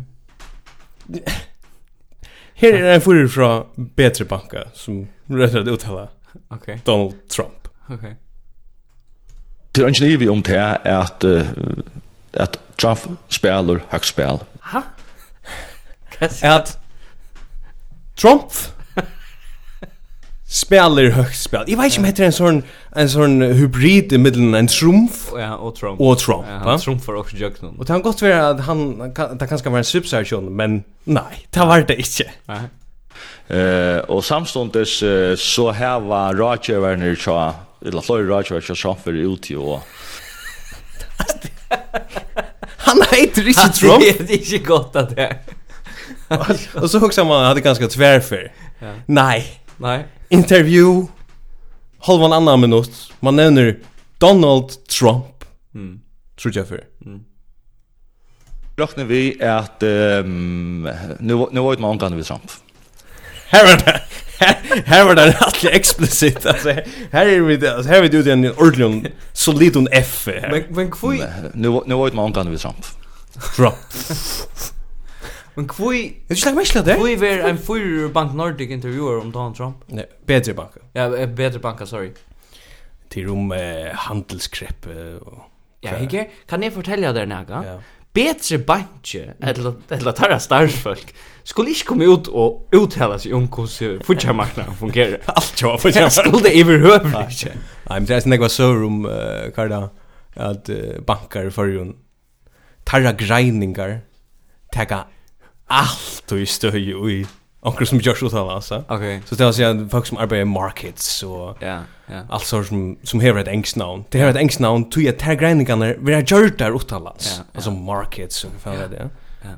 [SPEAKER 2] Her er en fyrir fra Betre Banka som rødder at uttala
[SPEAKER 3] Okej.
[SPEAKER 2] Donald Trump.
[SPEAKER 3] Okej.
[SPEAKER 7] Det er ikke evig om det er at, eh, at Trump spiller høgspill.
[SPEAKER 3] Ha?
[SPEAKER 2] at Trump spelar högt spel. Jag vet inte om det är en sån en sån hybrid i mitten en Trump
[SPEAKER 3] Ja, och Trump.
[SPEAKER 2] och Trump.
[SPEAKER 3] Ja,
[SPEAKER 2] va?
[SPEAKER 3] han Trump för också jöknon.
[SPEAKER 2] Och det har gått vara att han han kan- det kanske var en substitution, men nej, det var det inte.
[SPEAKER 3] Nej.
[SPEAKER 7] Eh, og samståndes eh, så her var rådgjøverne tja, eller flere rådgjøverne tja Trump for ut i år.
[SPEAKER 2] Han heter inte Trump.
[SPEAKER 3] Det är inte gott att det är.
[SPEAKER 2] Och så också man hade er ganska tvärför.
[SPEAKER 3] Ja.
[SPEAKER 2] Nej,
[SPEAKER 3] Nej.
[SPEAKER 2] intervju halv en annan minut. Man nämner Donald Trump.
[SPEAKER 3] Mm.
[SPEAKER 2] Tror jag för.
[SPEAKER 7] Råkner vi at um, nu, nu var det man omgående ved Trump.
[SPEAKER 2] Här var det. Här, här var det rätt explicit alltså. Här är vi alltså här är vi ute i en ordentlig solid och F här.
[SPEAKER 3] Men men kvui,
[SPEAKER 7] Eh, Nu, nu var det man omgående ved Trump.
[SPEAKER 2] bra.
[SPEAKER 3] men kvui,
[SPEAKER 2] Er Du snackar mest där?
[SPEAKER 3] kvui var en fyrir Bank Nordic intervjuer om Donald Trump.
[SPEAKER 2] Nej, bättre banka.
[SPEAKER 3] Ja, eh, bättre banka, sorry.
[SPEAKER 2] Till rum eh, handelskrepp eh, och
[SPEAKER 3] Ja, Hege, kan jag fortälja dig något?
[SPEAKER 2] ja.
[SPEAKER 3] Bättre banke, eller, eller tarra starfolk, skulle inte komma ut och uttala sig om hur futjarmarknaden fungerar.
[SPEAKER 2] Allt jag för
[SPEAKER 3] Det
[SPEAKER 2] jag.
[SPEAKER 3] skulle det överhuvud inte.
[SPEAKER 2] Nej, men det er är snack var så rum eh, karda att eh, bankar för ju tarra grindingar. Taga allt och i stöj och i onkel som görs utan alltså.
[SPEAKER 3] Okej.
[SPEAKER 2] Så det vill säga folk som arbetar i markets och
[SPEAKER 3] Ja, ja.
[SPEAKER 2] allt sorts som, som hever ett engstnavn. Det hever ett engstnavn tog jag ter greiningarna vi har gjort där utanlands.
[SPEAKER 3] Ja, ja.
[SPEAKER 2] Alltså markets um, och vad fan
[SPEAKER 3] Ja,
[SPEAKER 2] är det?
[SPEAKER 3] ja.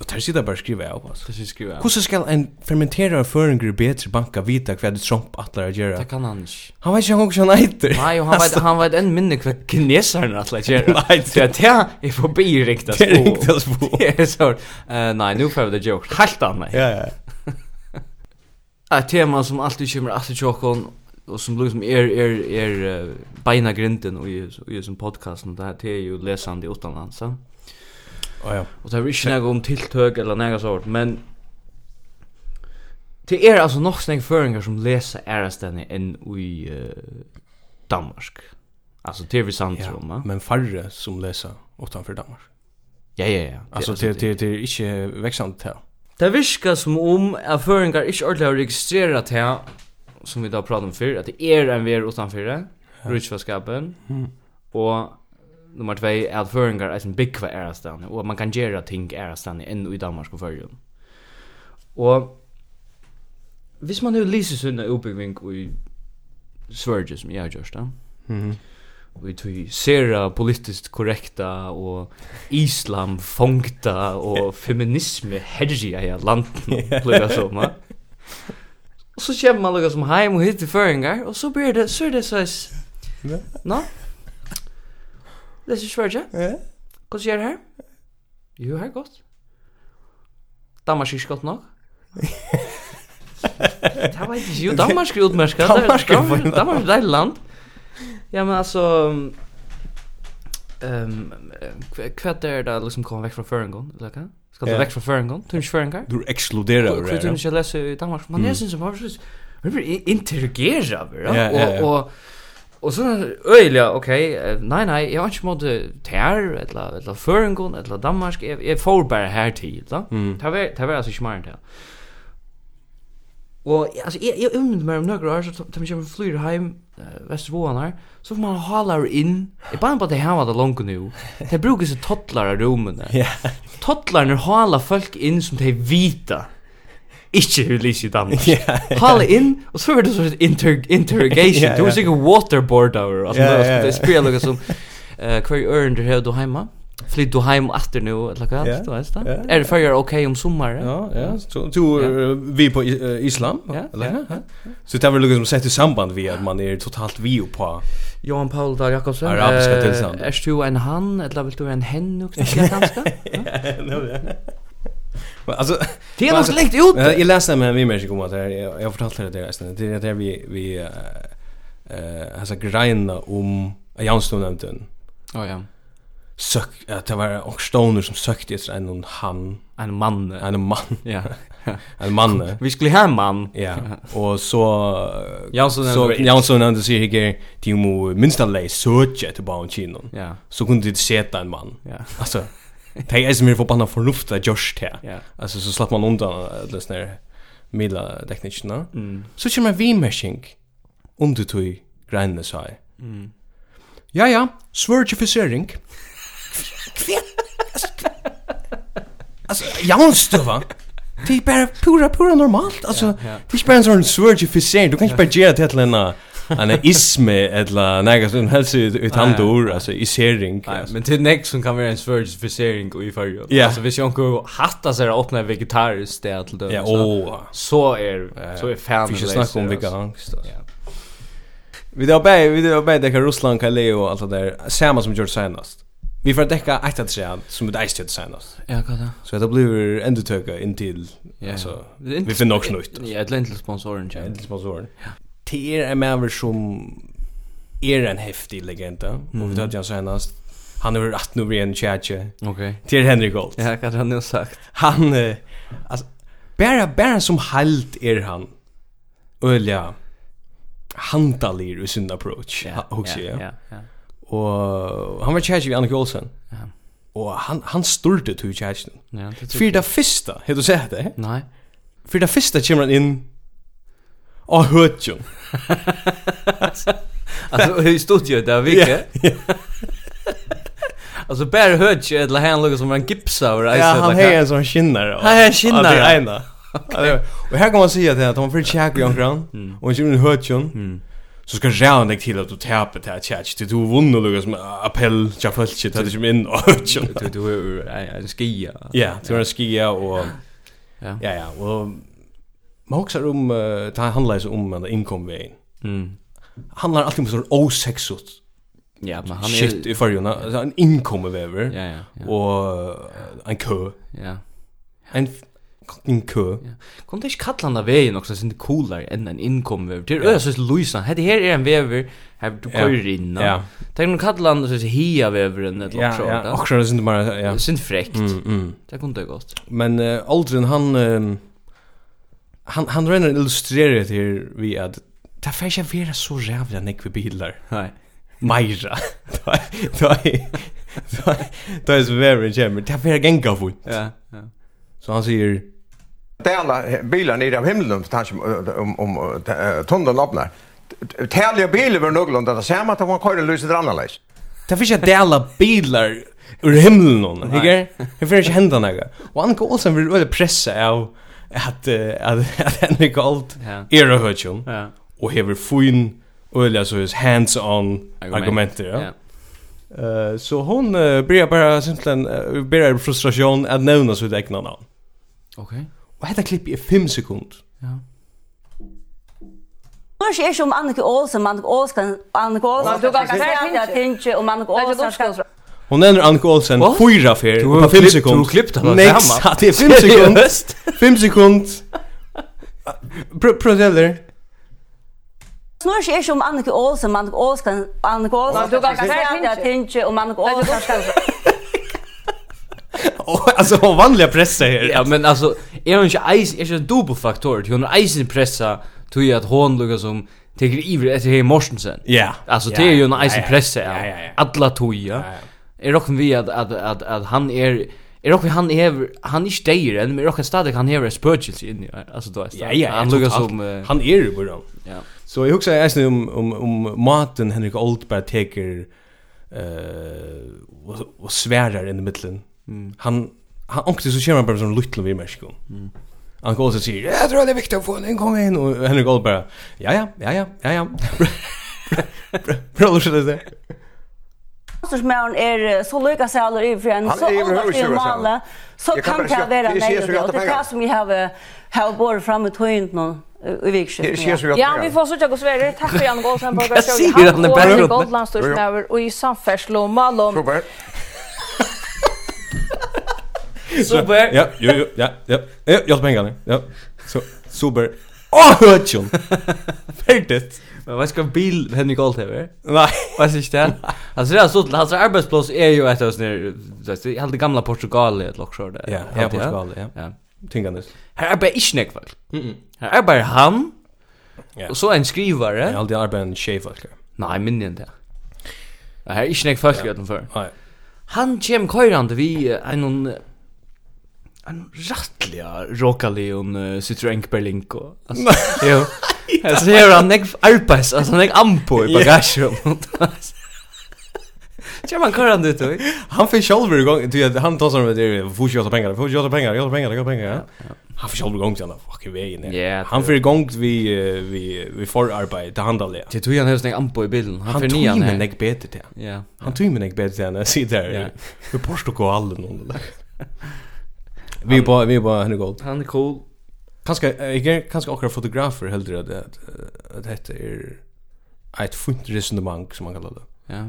[SPEAKER 2] Och där sitter bara skriva av alltså.
[SPEAKER 3] Så ska skriva.
[SPEAKER 2] Hur ska en fermenterare föringer bättre banka vita kvad det Trump attlar att
[SPEAKER 3] Det
[SPEAKER 2] göra?
[SPEAKER 3] kan han ikke.
[SPEAKER 2] Han vet inte hur han heter.
[SPEAKER 3] Nei, og han vet, han vet enn minne hva kineseren at la gjøre.
[SPEAKER 2] Nei,
[SPEAKER 3] Så at det er forbi riktig
[SPEAKER 2] Det är inte alls på.
[SPEAKER 3] Det er så, eh, nei, nå får vi det gjort. Helt annet.
[SPEAKER 2] Ja, ja.
[SPEAKER 3] Eh, Et tema som alltid kommer alltid tjokken, och som liksom är är är er, eh, beina grinden och i i som podcasten det här det är er- ju läsande utanlands. eh? så.
[SPEAKER 2] Ja, ja.
[SPEAKER 3] Och det är inte något om tilltök eller något sånt, men er det är alltså nog snägg föringar som läser ärastänne än i uh, Danmark. er Alltså det är vi sant
[SPEAKER 2] Ja,
[SPEAKER 3] om, va?
[SPEAKER 2] men færre som leser utanfor Danmark.
[SPEAKER 3] Ja, ja, ja. Det-
[SPEAKER 2] Altså, det, det, det er ikke veksende til.
[SPEAKER 3] Det virkar som om at føringar ikke ordentlig har registrerat det som vi da pratet om før, at det er en ver utanfor det, rutsfaskapen, og nummer 2 er at føringar er en byggva ærastane, og at man kan gjøre ting ærastane enn i Danmark og Førjun. Og hvis man nu lyser sunna oppbyggving i Sverige, som jeg har eh? gjort da, Mhm. vi tog sera politiskt korrekta og islam fångta og feminisme herja i landet plugga som va? Og så kjem man lukka som heim og hitt i føringar og så blir det, så er det såis
[SPEAKER 2] Ja.
[SPEAKER 3] Nå? Leser Sverige? Ja Hva skjer her? Jo, her godt Danmark er ikke godt nok Det var ikke, jo, Danmark er utmerska
[SPEAKER 2] Danmark er fint.
[SPEAKER 3] Danmark er et deilig land Ja, men altså um, Ehm kvätt är det er liksom kom väck från Förengon, eller kan? Ska du
[SPEAKER 2] Ja.
[SPEAKER 3] väck från Förengon? Tunch Förengar?
[SPEAKER 2] Du ekskluderer over
[SPEAKER 3] Hur
[SPEAKER 2] det. Mm.
[SPEAKER 3] tunch jag läser i Danmark. Man är sen som har precis Vi blir interagera
[SPEAKER 2] Ja, ja, ja.
[SPEAKER 3] över och och och så öjliga okej. eh, Nej nej, jag har inte mod tär eller eller Förengon eller Danmark är är förbar här till, va?
[SPEAKER 2] Mm.
[SPEAKER 3] Ta väl ta väl alltså smart här. Og ja, altså, jeg, jeg umynd meg om nøkker år, så tar tar vi kjøper flyr heim, uh, Vestervåan her, så får man halar inn, jeg bare bare at jeg har det langt nå, de bruker seg tottlar av rommene.
[SPEAKER 2] Ja.
[SPEAKER 3] Tottlarne halar folk inn som de vita, ikke hur lys i Danmark.
[SPEAKER 2] Ja,
[SPEAKER 3] Hala inn, og så er det sånn inter interrogation,
[SPEAKER 2] Ja,
[SPEAKER 3] du
[SPEAKER 2] ja.
[SPEAKER 3] er sikkert waterboard over, altså,
[SPEAKER 2] Ja,
[SPEAKER 3] det
[SPEAKER 2] ja,
[SPEAKER 3] er-
[SPEAKER 2] ja.
[SPEAKER 3] det er spyrir noe som, eh, hver øren du har du heima, flyt du heim atter nå, eller hva,
[SPEAKER 2] Ja,
[SPEAKER 3] du veist da?
[SPEAKER 2] ja, ja.
[SPEAKER 3] Er det fyrir ok om sommaren?
[SPEAKER 2] Ja, ja. Så du
[SPEAKER 3] Ja.
[SPEAKER 2] vi på i- eh, Islam,
[SPEAKER 3] Ja,
[SPEAKER 2] eller?
[SPEAKER 3] ja,
[SPEAKER 2] Ja. Så det er vel liksom sett i samband vi at man er totalt vi på.
[SPEAKER 3] Johan Paul Dahl Jakobsen.
[SPEAKER 2] Arabiska
[SPEAKER 3] eh,
[SPEAKER 2] tilstand.
[SPEAKER 3] Er du en han, eller vil du en hen, og knakka ganske?
[SPEAKER 2] Men altså,
[SPEAKER 3] Det er
[SPEAKER 2] Men
[SPEAKER 3] nok
[SPEAKER 2] altså-
[SPEAKER 3] lengt ut!
[SPEAKER 2] Eh, Jeg läste med vi mer om att det här, jag jag fortalte det där istället. Det är där vi vi eh eh alltså greina om Jansson nämnde den.
[SPEAKER 3] Å ja.
[SPEAKER 2] Sök att det var och stoner som sökte efter en han,
[SPEAKER 3] En mann. eh,
[SPEAKER 2] en man,
[SPEAKER 3] Ja.
[SPEAKER 2] en man.
[SPEAKER 3] Vi skulle ha en mann.
[SPEAKER 2] Ja. Och så
[SPEAKER 3] Jansson nämnde
[SPEAKER 2] så
[SPEAKER 3] det.
[SPEAKER 2] Jansson nämnde sig här till mo minst alla söka till Bauchinon.
[SPEAKER 3] Ja.
[SPEAKER 2] Så kunde det sätta en man.
[SPEAKER 3] Ja.
[SPEAKER 2] Alltså Det är som är förbannat förnuft att just här.
[SPEAKER 3] Ja.
[SPEAKER 2] Alltså så slapp man undan eh, alla såna här mila teknikerna.
[SPEAKER 3] Mm.
[SPEAKER 2] Så kommer vi meshing om du tog grænne sa jeg.
[SPEAKER 3] Mm.
[SPEAKER 2] Ja, ja, svørgifisering. Altså, jaunstøva. Det er bare pura, pura normalt. Altså,
[SPEAKER 3] ja.
[SPEAKER 2] det er ikke bare en sånn svørgifisering. Du kan ikke bare gjøre det til en en isme eller nega som um helst ut ut
[SPEAKER 3] Nei,
[SPEAKER 2] andre
[SPEAKER 3] ja.
[SPEAKER 2] ord, altså isering.
[SPEAKER 3] Nei,
[SPEAKER 2] altså.
[SPEAKER 3] men til nek som kan være en svørgesfisering i fargen.
[SPEAKER 2] Ja.
[SPEAKER 3] Altså, hvis jeg ikke hatta seg å åpne vegetarisk sted til dømes,
[SPEAKER 2] Ja, åh.
[SPEAKER 3] så er, så er fanen
[SPEAKER 2] Vi skal
[SPEAKER 3] leser,
[SPEAKER 2] snakke om
[SPEAKER 3] altså.
[SPEAKER 2] vilka angst. um altså.
[SPEAKER 3] Ja.
[SPEAKER 2] Vi då bäj, vi då bäj det Russland, Kaleo och allt det där. Samma som gjort senast. Vi får täcka ett att säga som det är stött senast.
[SPEAKER 3] Ja, hva da?
[SPEAKER 2] Så det blir ändå töka in till alltså vi får nog snutt.
[SPEAKER 3] er Ja, et lentil sponsoren,
[SPEAKER 2] Ja,
[SPEAKER 3] ja.
[SPEAKER 2] inte sponsoren. er Tier är med över som är en häftig legend då. Och vi tar ju senast. Han är rätt nu blir en chatche.
[SPEAKER 3] Ok.
[SPEAKER 2] Tier er Henrik Gold.
[SPEAKER 3] Ja, hva har han jo sagt?
[SPEAKER 2] Han eh, alltså bara bara er som halt är han. Ölja handalir i sin approach. Ja, också, ja.
[SPEAKER 3] ja, ja.
[SPEAKER 2] Og han var kjærlig vi Annika Olsen.
[SPEAKER 3] Ja.
[SPEAKER 2] Og han, han styrte til kjærlig.
[SPEAKER 3] Ja, det tror jeg.
[SPEAKER 2] Fyrir det fyrsta, hei du sett det?
[SPEAKER 3] Nei.
[SPEAKER 2] Fyrir det fyrsta kommer han inn Å, hørt jo.
[SPEAKER 3] Alltså hur stod ju där vilket? Alltså Bear Hutch eller han lukar som en gipsa och
[SPEAKER 2] Ja, han hei
[SPEAKER 3] här.
[SPEAKER 2] en sånn skinnar.
[SPEAKER 3] Han har en skinnare.
[SPEAKER 2] Ja, det er ena. Ja, det er- Og her kan man si at at han fyrir kjærlig om kran,
[SPEAKER 3] Mm.
[SPEAKER 2] og han kommer inn hørt jo. Så skal rævn deg til at du taper til kjærlig, til du vunner lukka som appell, kjærlig, til at du kommer inn og hørt jo.
[SPEAKER 3] Du du är en skia.
[SPEAKER 2] Ja, til å skia og...
[SPEAKER 3] Ja.
[SPEAKER 2] Ja, ja, og... Man hoksar om, eh, det handlar ju om en inkomvegin.
[SPEAKER 3] Mm.
[SPEAKER 2] handlar alltid om sån osexot
[SPEAKER 3] Ja, men han er- är
[SPEAKER 2] shit i förjuna. Alltså eh, en inkommevever
[SPEAKER 3] Ja, ja. ja,
[SPEAKER 2] och en kö.
[SPEAKER 3] Ja.
[SPEAKER 2] En en kø.
[SPEAKER 3] Kom det ikke kalla han av veien også, sin coolare enn en innkom vever. Det er øyla sånn Luisa, hette her er en vever, her du
[SPEAKER 2] Ja.
[SPEAKER 3] køyrer inn.
[SPEAKER 2] Ja.
[SPEAKER 3] Ja. Tenk om kalla han sånn hia veveren, eller
[SPEAKER 2] Ja,
[SPEAKER 3] noe
[SPEAKER 2] ja.
[SPEAKER 3] sånt.
[SPEAKER 2] Och så synd bara ja.
[SPEAKER 3] Det er sin frekt.
[SPEAKER 2] Mm, mm.
[SPEAKER 3] Det kunne det gått.
[SPEAKER 2] Men uh, Aldrin han ehm, han han renner illustrerar det här vi att det får inte vara så jävla nekve bilar.
[SPEAKER 3] Nei.
[SPEAKER 2] Meira. er- Då är- då är- då är så very jammer. Det får gänga fort.
[SPEAKER 3] Ja, ja.
[SPEAKER 2] er Så han säger
[SPEAKER 8] Tärna bilar nere av himlen för tanke om om, om eh, tunneln öppnar. Tärliga bilar var någorlunda det samma att man kör löser annorlunda.
[SPEAKER 2] Det finns inte alla bilar ur himlen någon, inte? Det finns inte hända några. Och Anka Olsen vill väl pressa av att eh, att att Henrik Holt
[SPEAKER 3] Ja.
[SPEAKER 2] är och hört hon
[SPEAKER 3] Ja.
[SPEAKER 2] och hever fin öliga så his hands on
[SPEAKER 3] Argument.
[SPEAKER 2] argumenter, ja. Eh så hon eh, börjar bara simpelthen uh, börjar i frustration att nämna sitt egna namn.
[SPEAKER 3] Okej.
[SPEAKER 2] Och detta klipp är 5 sekunder.
[SPEAKER 3] Ja.
[SPEAKER 9] Norsk er som Annika Olsen, Annika Olsen, Annika Olsen, du kan ikke säga at Tinge og Annika Olsen skal...
[SPEAKER 2] Hon nämner Anka Olsen
[SPEAKER 3] What?
[SPEAKER 2] fyra fer
[SPEAKER 3] Du har
[SPEAKER 2] på 5
[SPEAKER 3] klippt-
[SPEAKER 2] sekunder.
[SPEAKER 3] du har klippt alla
[SPEAKER 2] Next,
[SPEAKER 3] samman.
[SPEAKER 2] det er är 5 sekunder. 5 sekunder. Pröv det där.
[SPEAKER 9] Norsk er som Annika Olsen, Annika Olsen, Annika Olsen, du kan ikke säga at Tinge og Annika Olsen skal...
[SPEAKER 2] Åh, alltså hon vanliga pressa här.
[SPEAKER 3] Ja, men alltså är hon er inte ice är ju dubbel faktor. Hon är ice pressa till att hon lukar som teker iver efter hej Mortensen.
[SPEAKER 2] Ja.
[SPEAKER 3] Alltså det är ju en ice
[SPEAKER 2] ja,
[SPEAKER 3] pressa.
[SPEAKER 2] ja, ja, ja.
[SPEAKER 3] Alla toja. Er Är rocken vi att att att att han är är rocken han är han är stäjer än men rocken er stadig han är spurgels in i, alltså då är
[SPEAKER 2] Ja, ja,
[SPEAKER 3] han
[SPEAKER 2] totalt.
[SPEAKER 3] lukar som eh,
[SPEAKER 2] han är ju bara.
[SPEAKER 3] ja.
[SPEAKER 2] Så jag huxar jag om om om maten Henrik Oldberg tar eh och, och svärar i mitten. Han han också så kör man bara som luttel vid Mexiko. Mm. Han går så säger jag tror det är viktigt att få en ingång in och Henrik Oldberg. Ja ja, ja ja, ja ja. Bra, så det där.
[SPEAKER 9] Pastorsmæren er så lykka sæler i for en,
[SPEAKER 8] Han
[SPEAKER 9] så
[SPEAKER 8] er i
[SPEAKER 9] åndas
[SPEAKER 8] overhovedet
[SPEAKER 9] det er
[SPEAKER 8] sjøver
[SPEAKER 9] male,
[SPEAKER 8] sæler.
[SPEAKER 9] så
[SPEAKER 8] Jeg kan
[SPEAKER 9] kan
[SPEAKER 8] bare
[SPEAKER 9] det
[SPEAKER 8] sjå-
[SPEAKER 9] være
[SPEAKER 8] jeg
[SPEAKER 9] nei,
[SPEAKER 8] ser så
[SPEAKER 9] og
[SPEAKER 8] gjerne
[SPEAKER 9] det er det
[SPEAKER 8] penger.
[SPEAKER 9] som jeg har, har båret frem i tøynt nå, eh, i vikskiften.
[SPEAKER 8] Det ser så gjerne
[SPEAKER 10] Ja,
[SPEAKER 8] penger.
[SPEAKER 10] vi får sucha hos Sverige. Tack för Janne Gåsen på
[SPEAKER 3] Jag ser att han är
[SPEAKER 10] Han
[SPEAKER 3] bakgrunden.
[SPEAKER 10] går Gold landstorsnäver och i samfärdslom malom.
[SPEAKER 8] Super.
[SPEAKER 3] Super.
[SPEAKER 2] er Ja, jo jo, ja, ja. Ja, jag pengar nu. Ja. Så super. Åh, hört hon. Färdigt.
[SPEAKER 3] Men vad ska bil Henrik Oldberg?
[SPEAKER 2] Nej.
[SPEAKER 3] Vad syns det? Alltså det är så hans arbetsplats är ju ett av såna jag hade gamla Portugal ett lock short.
[SPEAKER 2] Ja, ja, Portugal, ja.
[SPEAKER 3] eh, Ja. er
[SPEAKER 2] Tingandes.
[SPEAKER 3] Här är bara ich neck väl. Här är bara er han.
[SPEAKER 2] Ja.
[SPEAKER 3] Och så en skrivare.
[SPEAKER 2] Jag har alltid arbetat en tjej faktiskt.
[SPEAKER 3] Nej, men inte. Det här är ich neck fast gjort för.
[SPEAKER 2] Nej.
[SPEAKER 3] Han kem köjande vi eh, en någon en er rattliga Rokaleon uh, Citroën Berlingo. Alltså, er jo. Alltså här han neck alpas, alltså neck ampo i bagagerummet. Kem han köjande ut. oj.
[SPEAKER 2] Han fick själv igång, du vet, han tar som det får jag ta pengar, får jag ta pengar, jag tar pengar, jag tar pengar. ja. Han fick själv igång till den fucking vägen. ja.
[SPEAKER 3] Ja,
[SPEAKER 2] Han fick igång vi eh, vi vi får arbete handla det.
[SPEAKER 3] Det tog han helst en ampo i bilen. Han
[SPEAKER 2] Han
[SPEAKER 3] för
[SPEAKER 2] tog
[SPEAKER 3] nian
[SPEAKER 2] mig
[SPEAKER 3] här.
[SPEAKER 2] näck bättre till.
[SPEAKER 3] Ja.
[SPEAKER 2] Han tog mig näck bättre till när jag sitter
[SPEAKER 3] Ja.
[SPEAKER 2] där. Vi påstår gå all någon där. Vi är bara vi är bara henne gott.
[SPEAKER 3] Han är cool.
[SPEAKER 2] Kanske jag kanske också er fotografer hellre att att att detta är ett fint resonemang som man kallar det.
[SPEAKER 3] Ja.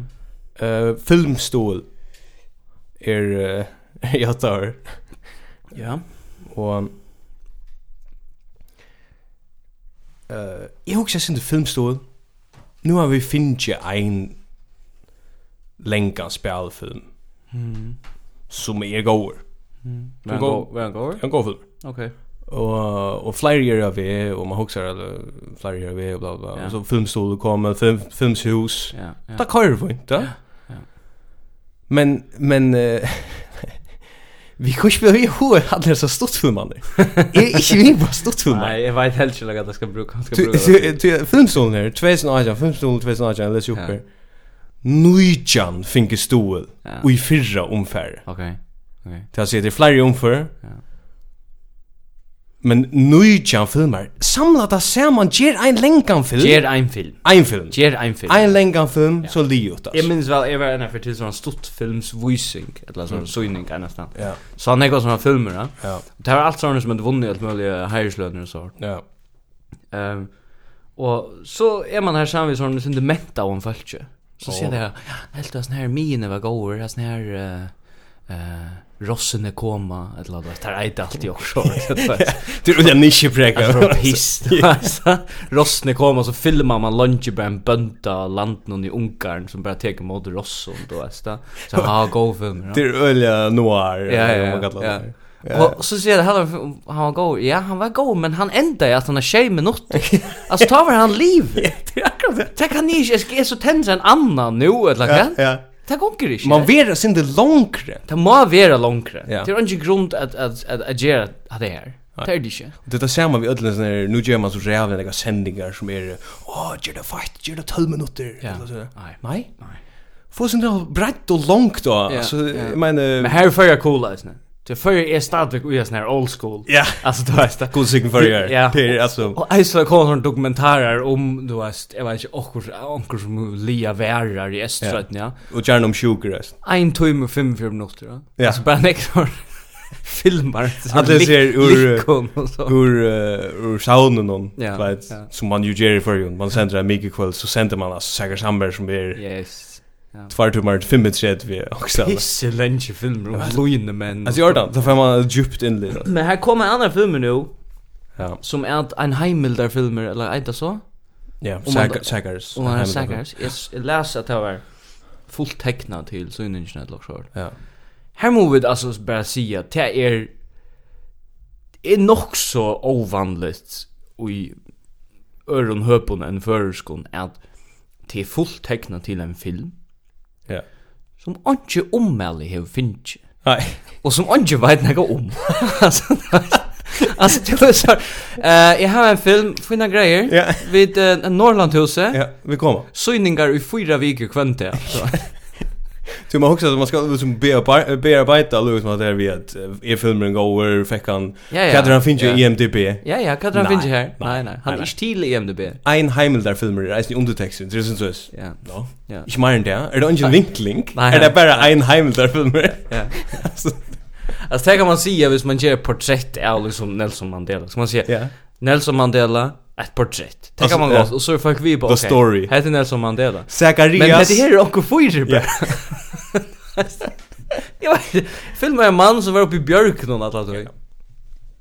[SPEAKER 2] Eh filmstol är eh, jag tar
[SPEAKER 3] Ja.
[SPEAKER 2] och eh jag huxar sin filmstol. Nu har vi finnit en länka spelfilm. Mm. Som är går.
[SPEAKER 3] Var han
[SPEAKER 2] Go-
[SPEAKER 3] går? Var han går?
[SPEAKER 2] En god film.
[SPEAKER 3] Okej.
[SPEAKER 2] Och och flera gör av det och man huxar eller flera gör av det och bla bla.
[SPEAKER 3] Ja.
[SPEAKER 2] Och så filmstol kommer film, filmshus.
[SPEAKER 3] Ja. ja.
[SPEAKER 2] Det kan vi inte. Ja. Men men eh, vi kan spela ju hur hade det så stort för man. Är inte vi er bara stort för man.
[SPEAKER 3] Nej, jag vet helt inte att jag ska bruka. Jag ska
[SPEAKER 2] Du
[SPEAKER 3] bruka.
[SPEAKER 2] du- du filmstolen här 2018 filmstolen 2018 läs upp
[SPEAKER 3] Ja.
[SPEAKER 2] här. Nujan finke stol
[SPEAKER 3] Ja.
[SPEAKER 2] och i fyrra omfär.
[SPEAKER 3] Okej. Okej.
[SPEAKER 2] Det har sett det flera omfär.
[SPEAKER 3] Ja.
[SPEAKER 2] Men nujan filmer samlat där ser man ger en länkan film.
[SPEAKER 3] Ger en film.
[SPEAKER 2] en film.
[SPEAKER 3] Ger en film.
[SPEAKER 2] En länkan film så liot
[SPEAKER 3] Jag
[SPEAKER 2] alltså.
[SPEAKER 3] minns väl, jag var en för till sån stort films voicing, eller sån syning kan nästan.
[SPEAKER 2] Ja.
[SPEAKER 3] Så han er gick såna filmer, ja.
[SPEAKER 2] Ja.
[SPEAKER 3] Det var allt sånt som hade vunnit allt möjliga hyreslöner och så.
[SPEAKER 2] Ja.
[SPEAKER 3] Ehm och så är man här samman vid sån som dementa om folk. Så ser det här, helt sån här mine var goer, sån här eh rossene koma eller er något där är allt jag så er
[SPEAKER 2] Det är en nisch präka
[SPEAKER 3] från piss. Rossene koma så filmar man lunch på en bunta land någon i Ungarn som bara tar emot ross och då är det så ha go film. ja.
[SPEAKER 2] Det är ölja noir
[SPEAKER 3] Ja,
[SPEAKER 2] eller vad man
[SPEAKER 3] ja,
[SPEAKER 2] kallar
[SPEAKER 3] ja.
[SPEAKER 2] det.
[SPEAKER 3] Och så ser det heller han var god. Ja, han var god, men han ända i att han har tjej minutter. Alltså tar var han liv.
[SPEAKER 2] er
[SPEAKER 3] Tack han ni är så tänds er en annan nu eller kan.
[SPEAKER 2] Ja.
[SPEAKER 3] Tack onkel inte.
[SPEAKER 2] Man vera sin det långre.
[SPEAKER 3] Det må være langere.
[SPEAKER 2] Ja.
[SPEAKER 3] Det er ikke grunn at, at, at, at gjøre det her. Det er det ikke.
[SPEAKER 2] Det är samma vi ödlen när nu gör man så jävla några sändningar som är åh gör det fight gör det 12 minuter
[SPEAKER 3] Ja.
[SPEAKER 2] eller så.
[SPEAKER 3] Nei.
[SPEAKER 2] Nej. Få sin det er brett och långt då.
[SPEAKER 3] Ja,
[SPEAKER 2] Alltså
[SPEAKER 3] ja.
[SPEAKER 2] jag menar
[SPEAKER 3] Men her fører jeg cool, altså. Det fører jeg stadigvæk ui sånn her old school.
[SPEAKER 2] Ja.
[SPEAKER 3] Altså, du vet det.
[SPEAKER 2] god sig för er.
[SPEAKER 3] Ja.
[SPEAKER 2] Det är alltså
[SPEAKER 3] Og eisla kommer sånne dokumentarer om, du vet, jeg vet ikke, okkur, okkur som lia værer i Øststrøtten, ja.
[SPEAKER 2] och gärna om sjuker.
[SPEAKER 3] Ein time og 45 minutter, ja.
[SPEAKER 2] Ja.
[SPEAKER 3] Altså, bare nek sånn filmer.
[SPEAKER 2] Alla ser ur-
[SPEAKER 3] Likon og så.
[SPEAKER 2] Hur eh, ur saunen någon
[SPEAKER 3] Ja,
[SPEAKER 2] vet
[SPEAKER 3] ja.
[SPEAKER 2] som man ju ger för ju. Man sänder en mycket kväll så sänder man alltså Sagar Samberg som er är
[SPEAKER 3] Yes.
[SPEAKER 2] två timmar 5 minuter vi också.
[SPEAKER 3] Pisse lenge filmer om lojende menn.
[SPEAKER 2] Alltså gör det. Då får man djupt in lite.
[SPEAKER 3] Men här kommer en annan film nu.
[SPEAKER 2] Ja.
[SPEAKER 3] Som är att en heimildar filmer, eller inte så?
[SPEAKER 2] Ja,
[SPEAKER 3] Om man- er
[SPEAKER 2] Sagar- Sagars.
[SPEAKER 3] Och han
[SPEAKER 2] Heimdall.
[SPEAKER 3] säkert. Jag s- jag läser att det var fullt tecknat till så innan internet lag så.
[SPEAKER 2] Ja.
[SPEAKER 3] Här måste vi alltså bara säga att det är är nog så ovanligt och i öron höpon en förskon att det är fullt tecknat till en film
[SPEAKER 2] Ja.
[SPEAKER 3] som inte ommälig har finns.
[SPEAKER 2] Nej.
[SPEAKER 3] Och som inte vet något om. alltså, alltså, det var så. Uh, jag har en film, fina grejer,
[SPEAKER 2] Ja.
[SPEAKER 3] vid uh, Norrlandhuset.
[SPEAKER 2] Ja, vi kommer.
[SPEAKER 3] Søyningar i fyra viker kvante, altså.
[SPEAKER 2] Du man också att man ska liksom bearbe- bearbeta Lewis som att det är vid att eh, är filmen går fick han
[SPEAKER 3] Ja, ja.
[SPEAKER 2] Kadran finns ju
[SPEAKER 3] Ja.
[SPEAKER 2] i IMDb.
[SPEAKER 3] Ja, ja, hva er det han
[SPEAKER 2] Nei,
[SPEAKER 3] finnes her? Nei,
[SPEAKER 2] nei,
[SPEAKER 3] nei, han
[SPEAKER 2] nei,
[SPEAKER 3] er ikke til i MDB.
[SPEAKER 2] Ein er Heimel där filmer är i undertexten. Det är sånt så.
[SPEAKER 3] Ja,
[SPEAKER 2] Ja.
[SPEAKER 3] ja.
[SPEAKER 2] Ich meine der, är det inte en er vinkling?
[SPEAKER 3] Nei,
[SPEAKER 2] Är det
[SPEAKER 3] nei.
[SPEAKER 2] bara ein Heimel där filmer?
[SPEAKER 3] ja. Altså, det kan man sige hvis man gjør et portrett av liksom Nelson Mandela. Så man siger,
[SPEAKER 2] Ja.
[SPEAKER 3] Nelson Mandela, er et portrett. Det
[SPEAKER 2] Altså,
[SPEAKER 3] kan man
[SPEAKER 2] ja.
[SPEAKER 3] godt, og så er folk vi på,
[SPEAKER 2] The story.
[SPEAKER 3] Hette Nelson Mandela. Men
[SPEAKER 2] Zacharias.
[SPEAKER 3] det her er onko
[SPEAKER 2] Ja.
[SPEAKER 3] fyrer bare. Jeg vet ikke, filmer en mann som var oppe i bjørken og alt annet.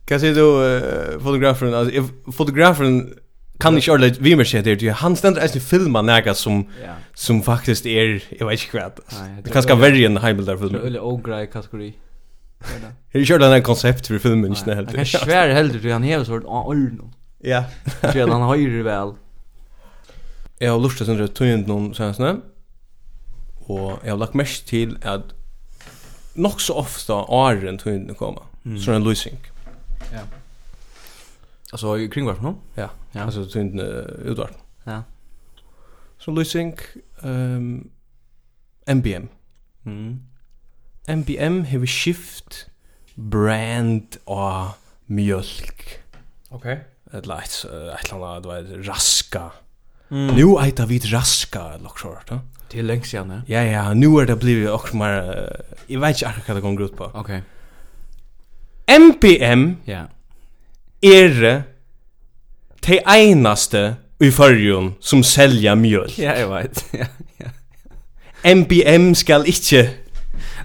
[SPEAKER 2] Kan se då eh, fotografen alltså if- fotografen kan inte ordentligt vi mer se det du han ständer alltså filma näga som
[SPEAKER 3] Ja.
[SPEAKER 2] som faktiskt är jag vet inte vad.
[SPEAKER 3] Nei,
[SPEAKER 2] Det
[SPEAKER 3] jeg tror
[SPEAKER 2] kanske
[SPEAKER 3] det er-
[SPEAKER 2] värre en Heimel där
[SPEAKER 3] Det er
[SPEAKER 2] filmer.
[SPEAKER 3] veldig ågrei kategori.
[SPEAKER 2] Hur kör den här koncept för filmen inte
[SPEAKER 3] Han er
[SPEAKER 2] helt.
[SPEAKER 3] kan svære heldur, for han hever svart, å, orno.
[SPEAKER 2] Ja.
[SPEAKER 3] Tror jeg han høyre vel.
[SPEAKER 2] Jeg har lustet sindre tøyend noen senestene, og jeg har lagt mest til at nok så ofte åren tøyendene kommer, mm. sånn en lysing.
[SPEAKER 3] Altså, i kringvarp nå?
[SPEAKER 2] Ja,
[SPEAKER 3] Ja.
[SPEAKER 2] altså tøyendene utvart.
[SPEAKER 3] Ja.
[SPEAKER 2] Så lysing, um, MBM.
[SPEAKER 3] Mm.
[SPEAKER 2] MBM har skift brand av mjölk.
[SPEAKER 3] Ok.
[SPEAKER 2] Eller et, et eller annet, det var raska.
[SPEAKER 3] Mm.
[SPEAKER 2] Nu eit av vit raska, loksjort, ja.
[SPEAKER 3] Det er lenge siden, ja.
[SPEAKER 2] Ja, ja, nu er det blivit också mer... eh, Jag vet inte akkurat vad det kommer ut på.
[SPEAKER 3] Ok.
[SPEAKER 2] MPM
[SPEAKER 3] Ja.
[SPEAKER 2] er te einaste i fyrjun som selja mjöl.
[SPEAKER 3] Ja, jeg vet. Ja, ja.
[SPEAKER 2] MPM skal ikkje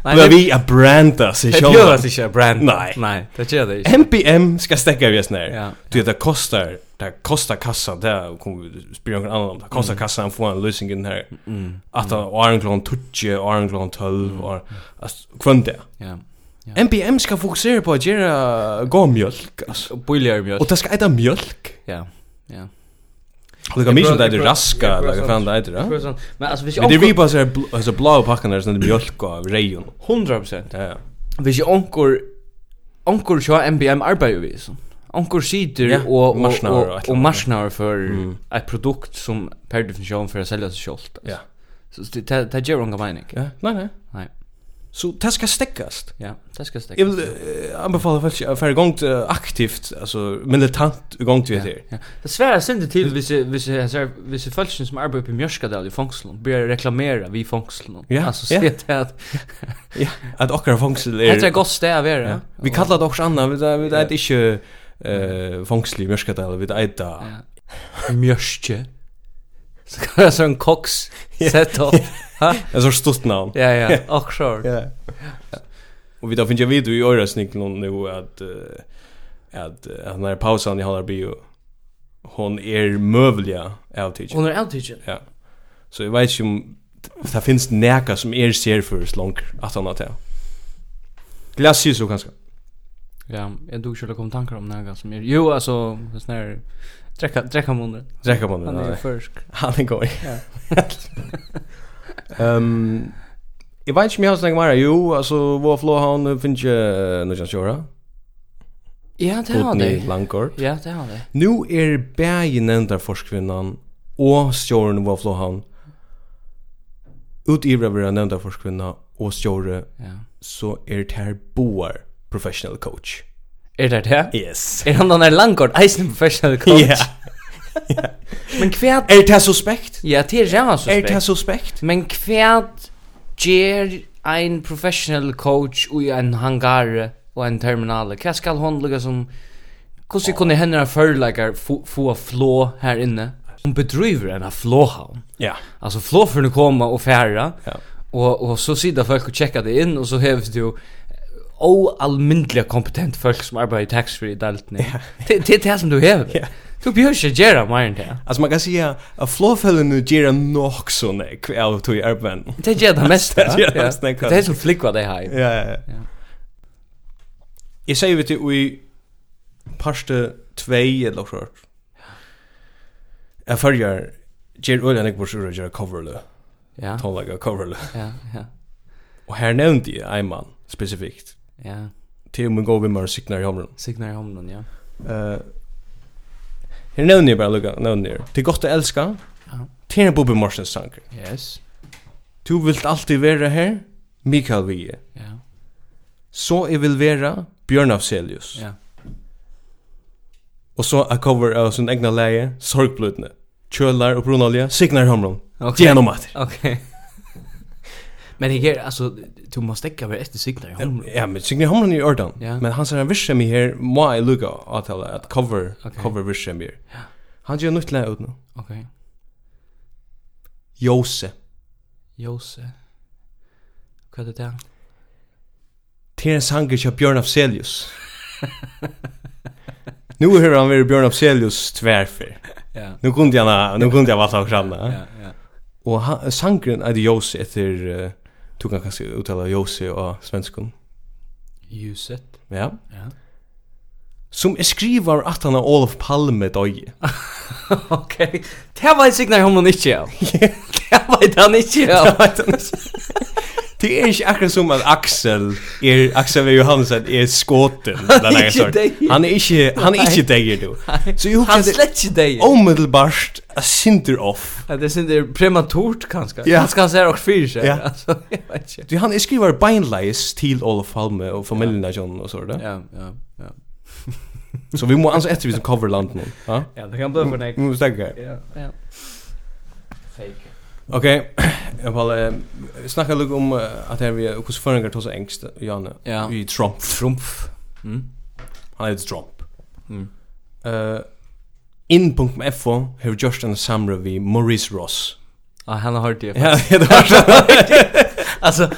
[SPEAKER 3] Nei,
[SPEAKER 2] vara vi a branda sig
[SPEAKER 3] det
[SPEAKER 2] sjálva.
[SPEAKER 3] gjør det ikke, brand.
[SPEAKER 2] Nei.
[SPEAKER 3] Nei, det gjør det ikke.
[SPEAKER 2] MPM skal stekka vi snär.
[SPEAKER 3] Ja.
[SPEAKER 2] Du vet, det kostar, det kostar kassan, det kommer vi spyrir någon annan om, det kostar kassan få en lösning i den här.
[SPEAKER 3] Mm.
[SPEAKER 2] Att han har en klon 12, har en klon 12, har... Alltså, kvönt det.
[SPEAKER 3] Ja.
[SPEAKER 2] MPM skal fokusera på att göra gå mjölk, alltså.
[SPEAKER 3] Og boiler mjøl.
[SPEAKER 2] Och det ska äta mjölk.
[SPEAKER 3] Ja. Ja.
[SPEAKER 2] Det kan mycket som det
[SPEAKER 3] prøver-
[SPEAKER 2] heter
[SPEAKER 3] jeg prøver-
[SPEAKER 2] raska,
[SPEAKER 3] jeg prøver
[SPEAKER 2] eller vad fan det heter, ja?
[SPEAKER 3] Sånn. Men er altså, hvis
[SPEAKER 2] Men det
[SPEAKER 3] jeg
[SPEAKER 2] är vi bara så här bl- alltså blåa packen där sån mjölk och rejon.
[SPEAKER 3] 100%.
[SPEAKER 2] Ja ja.
[SPEAKER 3] Hvis jeg onkur, onkur sjå MBM arbeider vi, sånn. Onkur sitter
[SPEAKER 2] Ja,
[SPEAKER 3] og, og,
[SPEAKER 2] marsnarer og et
[SPEAKER 3] og,
[SPEAKER 2] eller
[SPEAKER 3] og
[SPEAKER 2] annet.
[SPEAKER 3] marsnarer for
[SPEAKER 2] Mm.
[SPEAKER 3] et produkt som per definisjon for å selge seg selv.
[SPEAKER 2] Ja.
[SPEAKER 3] Så det, det, det gjør unga mening.
[SPEAKER 2] Ja, nej nej.
[SPEAKER 3] Nei.
[SPEAKER 2] Så det ska stäckas.
[SPEAKER 3] Ja, det skal jeg stekke.
[SPEAKER 2] Jag vill eh, anbefala folk att färre gång till eh, aktivt alltså militant gång till det här.
[SPEAKER 3] Ja. Det svärar synd till hvis hvis alltså hvis folk som arbetar uppe i Mjörskadal i Fångslund börjar reklamera vid Fångslund.
[SPEAKER 2] Ja,
[SPEAKER 3] Alltså
[SPEAKER 2] ja.
[SPEAKER 3] se till att
[SPEAKER 2] Att åkra fångsel
[SPEAKER 3] det är ett
[SPEAKER 2] är
[SPEAKER 3] er gott ställe att vara.
[SPEAKER 2] Ja. Vi kallar det också annat, vi vi vet inte eh fångsel i Mörskadal, vi vet inte.
[SPEAKER 3] Mjörske. Så kan jag så en koks set up.
[SPEAKER 2] Alltså stort namn.
[SPEAKER 3] Ja ja, och så.
[SPEAKER 2] Ja. Och vi då finns jag video i öra snick någon nu att eh, att eh, att när pausen i håller bio hon er är mövliga outage.
[SPEAKER 3] Hon är outage.
[SPEAKER 2] Ja. Så jag vet inte om det finns näka som är ser för långt att han att det. Glass ju så ganska.
[SPEAKER 3] Ja, jag dog skulle komma tankar om några som är jo er alltså sån här dräcka dräcka munnen.
[SPEAKER 2] Dräcka munnen.
[SPEAKER 3] Han er är
[SPEAKER 2] nej.
[SPEAKER 3] först.
[SPEAKER 2] Han är god. Ehm Jag vet inte om jag har snackat mer. Jo, alltså vår flåhavn finns ju nu kan köra.
[SPEAKER 3] Ja, det har
[SPEAKER 2] Utny
[SPEAKER 3] det.
[SPEAKER 2] Langkort.
[SPEAKER 3] Ja, det har det.
[SPEAKER 2] Nu er bægi nevndar forskvinnan og stjåren var flåhavn utgivra vera nevndar forskvinna og stjåre
[SPEAKER 3] Ja.
[SPEAKER 2] så er ter boar professional coach.
[SPEAKER 3] Är Er det det?
[SPEAKER 2] Yes.
[SPEAKER 3] Er han den där langkort eisen professional coach?
[SPEAKER 2] Ja.
[SPEAKER 3] Men kvärt
[SPEAKER 2] Er det suspekt?
[SPEAKER 3] Ja, det är jävla suspekt.
[SPEAKER 2] Er det suspekt?
[SPEAKER 3] Men kvärt ger ein professional coach i en hangar och en terminal. Kvärt skal hon lugga som Hvordan kunne henne förlägga få, få flå här inne? Hon bedriver en flåhavn.
[SPEAKER 2] Ja.
[SPEAKER 3] Alltså flåförna komma och färra.
[SPEAKER 2] Ja.
[SPEAKER 3] Och, och så sitter folk och checkar det in och så hävs det ju oallmyndliga kompetent folk som arbetar i taxfree i Dalton. Ja. Det, det är det som du häver.
[SPEAKER 2] Ja.
[SPEAKER 3] Du behöver inte göra mer än det.
[SPEAKER 2] Alltså man kan säga att flåfällene ger nog så nek av tog i arbeten.
[SPEAKER 3] Det gör det mesta.
[SPEAKER 2] Det gör det
[SPEAKER 3] ja.
[SPEAKER 2] mesta,
[SPEAKER 3] Det är som flickva det här.
[SPEAKER 2] Ja, ja, ja. Jag säger vet du i parste 2 eller så. Jag följer Ger Ullen jag borde göra coverle.
[SPEAKER 3] Ja.
[SPEAKER 2] Tolga coverle.
[SPEAKER 3] Ja, ja.
[SPEAKER 2] Och här nämnde jag en man specifikt.
[SPEAKER 3] Ja.
[SPEAKER 2] Till om går vi med signar i hamnen.
[SPEAKER 3] Signar i hamnen, ja.
[SPEAKER 2] Eh Här nämnde jag bara Luca, nämnde jag. Det är er gott att älska.
[SPEAKER 3] Ja.
[SPEAKER 2] Till en er Bobby Marsens sanker.
[SPEAKER 3] Yes.
[SPEAKER 2] Du vilt alltid vara här, Mikael Wiehe.
[SPEAKER 3] Ja.
[SPEAKER 2] Så jag vill vara Björn Afzelius.
[SPEAKER 3] Ja.
[SPEAKER 2] Och så a cover av sin egna läge, sorgblödne. Kjölar och brunolja, signar hamron.
[SPEAKER 3] Okej.
[SPEAKER 2] Genomater.
[SPEAKER 3] Okej. Men det är alltså du måste täcka över ett signar i hamnen.
[SPEAKER 2] Ja, men signar hamron i ordan.
[SPEAKER 3] Ja.
[SPEAKER 2] Men han säger en virsem i här, må jag lugga att tala att cover,
[SPEAKER 3] Okej.
[SPEAKER 2] cover virsem i här. Han gör nytt läge ut nu.
[SPEAKER 3] Okej.
[SPEAKER 2] Jose.
[SPEAKER 3] Jose. Vad är det?
[SPEAKER 2] Till en sanger kör Björn Afzelius. nu hör han vara Björn Afzelius tvärför.
[SPEAKER 3] Ja.
[SPEAKER 2] Nu kunde jag, nu kunde jag vara så framme.
[SPEAKER 3] Ja, ja.
[SPEAKER 2] Og han, sangren er Jose etter uh, Du kan kanskje uttala Jose av svenskon
[SPEAKER 3] Ljuset.
[SPEAKER 2] Ja
[SPEAKER 3] Ja.
[SPEAKER 2] Som er skrivar at han har Olof Palme døy
[SPEAKER 3] Okej. Det var ett signar i hamnen inte. Ja. Det var det han inte. Ja.
[SPEAKER 2] Det er ikke akkurat som at Axel er, Axel V. Johansen er skåten den
[SPEAKER 3] er
[SPEAKER 2] her
[SPEAKER 3] ikke
[SPEAKER 2] sorten.
[SPEAKER 3] døy.
[SPEAKER 2] Han er ikke Han er ikke deg du Så jeg
[SPEAKER 3] Han
[SPEAKER 2] husker det Oh.
[SPEAKER 3] släcker dig.
[SPEAKER 2] Omedelbart a sinter off
[SPEAKER 3] Ja, det synd det är prematurt kanske.
[SPEAKER 2] Ja.
[SPEAKER 3] Han ska säga och fyra sig.
[SPEAKER 2] Ja.
[SPEAKER 3] Alltså, jag vet inte.
[SPEAKER 2] Du han er skrivar beinleis til Olof Palme og familjen av John og så det
[SPEAKER 3] Ja, ja, ja.
[SPEAKER 2] Så vi må ansa etter vi som cover land nå Ja
[SPEAKER 3] Ja, det kan bli för dig.
[SPEAKER 2] Vi må stekke her
[SPEAKER 3] Ja, ja. Fake.
[SPEAKER 2] Okej, jag vill eh, snacka lite om eh, att här vi hur förringar tar så ängst eh, Janne.
[SPEAKER 3] Ja.
[SPEAKER 2] Vi Trump.
[SPEAKER 3] Trumf. Mm.
[SPEAKER 2] Han heter Trump.
[SPEAKER 3] Mm.
[SPEAKER 2] Eh in.fo har just en samra vi Maurice Ross.
[SPEAKER 3] Ja, han har hört det.
[SPEAKER 2] Ja, det var så.
[SPEAKER 3] Alltså,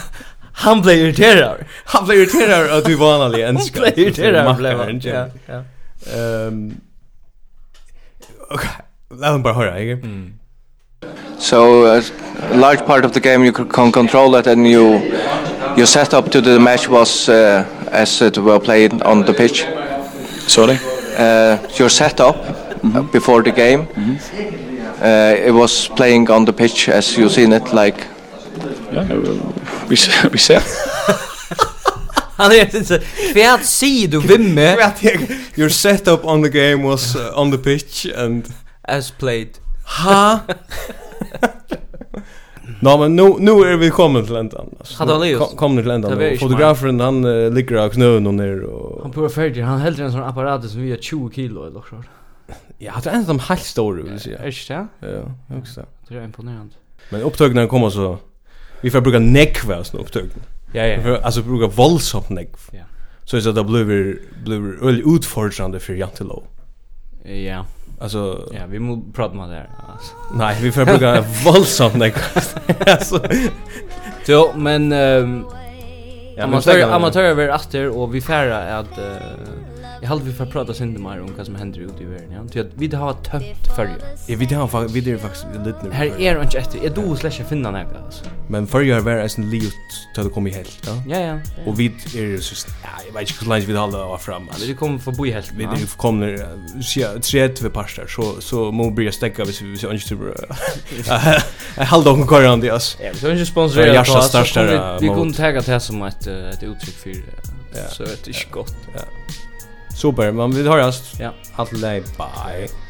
[SPEAKER 3] han blev irriterad.
[SPEAKER 2] Han blev irriterad att du var vanlig en
[SPEAKER 3] Han blev irriterad blev han. Ja, ja.
[SPEAKER 2] Ehm Okej, låt mig Ehm, bara höra. Jag.
[SPEAKER 11] So uh, a large part of the game you c- can control it, and you your setup to the match was uh, as it were played on the pitch. Sorry. Uh, your setup uh before the game, uh, it was playing on the pitch as you seen it, like. Yeah, we we said.
[SPEAKER 3] Han er är inte Vad säger du vimme
[SPEAKER 2] Your setup on the game was uh, on the pitch and
[SPEAKER 3] as played?
[SPEAKER 2] Ha? Nå, men nu, nu är vi kommit till ändan. Alltså,
[SPEAKER 3] Hade han
[SPEAKER 2] Nu
[SPEAKER 3] lyst?
[SPEAKER 2] kom- Kommer till
[SPEAKER 3] Det
[SPEAKER 2] ändan.
[SPEAKER 3] var
[SPEAKER 2] nu.
[SPEAKER 3] inte
[SPEAKER 2] Fotografen, han eh, ligger av knöen och ner. Och...
[SPEAKER 3] Han pura färdig, han hällde en sån apparat som vi har 20 kilo eller så.
[SPEAKER 2] Ja, det är en av de helt stora, vill jag
[SPEAKER 3] Är
[SPEAKER 2] säga.
[SPEAKER 3] det inte det?
[SPEAKER 2] Ja, jag också.
[SPEAKER 3] Det er är imponerande.
[SPEAKER 2] Men upptökningen kommer så... Vi får bruka nekva sån upptökning.
[SPEAKER 3] Ja,
[SPEAKER 2] Vi
[SPEAKER 3] ja.
[SPEAKER 2] får alltså bruka våldsamt nekv.
[SPEAKER 3] Ja.
[SPEAKER 2] Så att det blir, blir öl utfordrande för Jantelov.
[SPEAKER 3] Ja,
[SPEAKER 2] Alltså,
[SPEAKER 3] ja, vi måste prata om det här. Alltså.
[SPEAKER 2] nej, vi får bruka våldsamt nekv. alltså,
[SPEAKER 3] Jo, men ehm Ja, amatörer amatörer är efter och vi färra att eh, jag hade vi får prata um synd mer om vad som händer ute i världen. Ja. Ty att vi det har tömt för.
[SPEAKER 2] Ja, vi det har fa- vi det är faktiskt lite nu.
[SPEAKER 3] Här är det inte efter. Jag då släcker finna något alltså.
[SPEAKER 2] Men förr var det en livet till det kom i helt, ja.
[SPEAKER 3] Ja, ja.
[SPEAKER 2] Och vi är så ja, jag vet inte hur länge vi håller av fram.
[SPEAKER 3] Alltså det kommer förbi helt.
[SPEAKER 2] Vi
[SPEAKER 3] ja.
[SPEAKER 2] det kommer se tre till pastar så så må vi börja stäcka hvis vi så inte tror. Jag håller dem kvar runt oss.
[SPEAKER 3] Ja, vi ska inte sponsorera
[SPEAKER 2] Jag ska
[SPEAKER 3] oss, så
[SPEAKER 2] starta
[SPEAKER 3] kommer Vi vi kunde tagga det här som ett eh, ett uttryck för eh, så ett är gott.
[SPEAKER 2] Super, men vi hörs.
[SPEAKER 3] Ja.
[SPEAKER 2] Allt läge. Bye.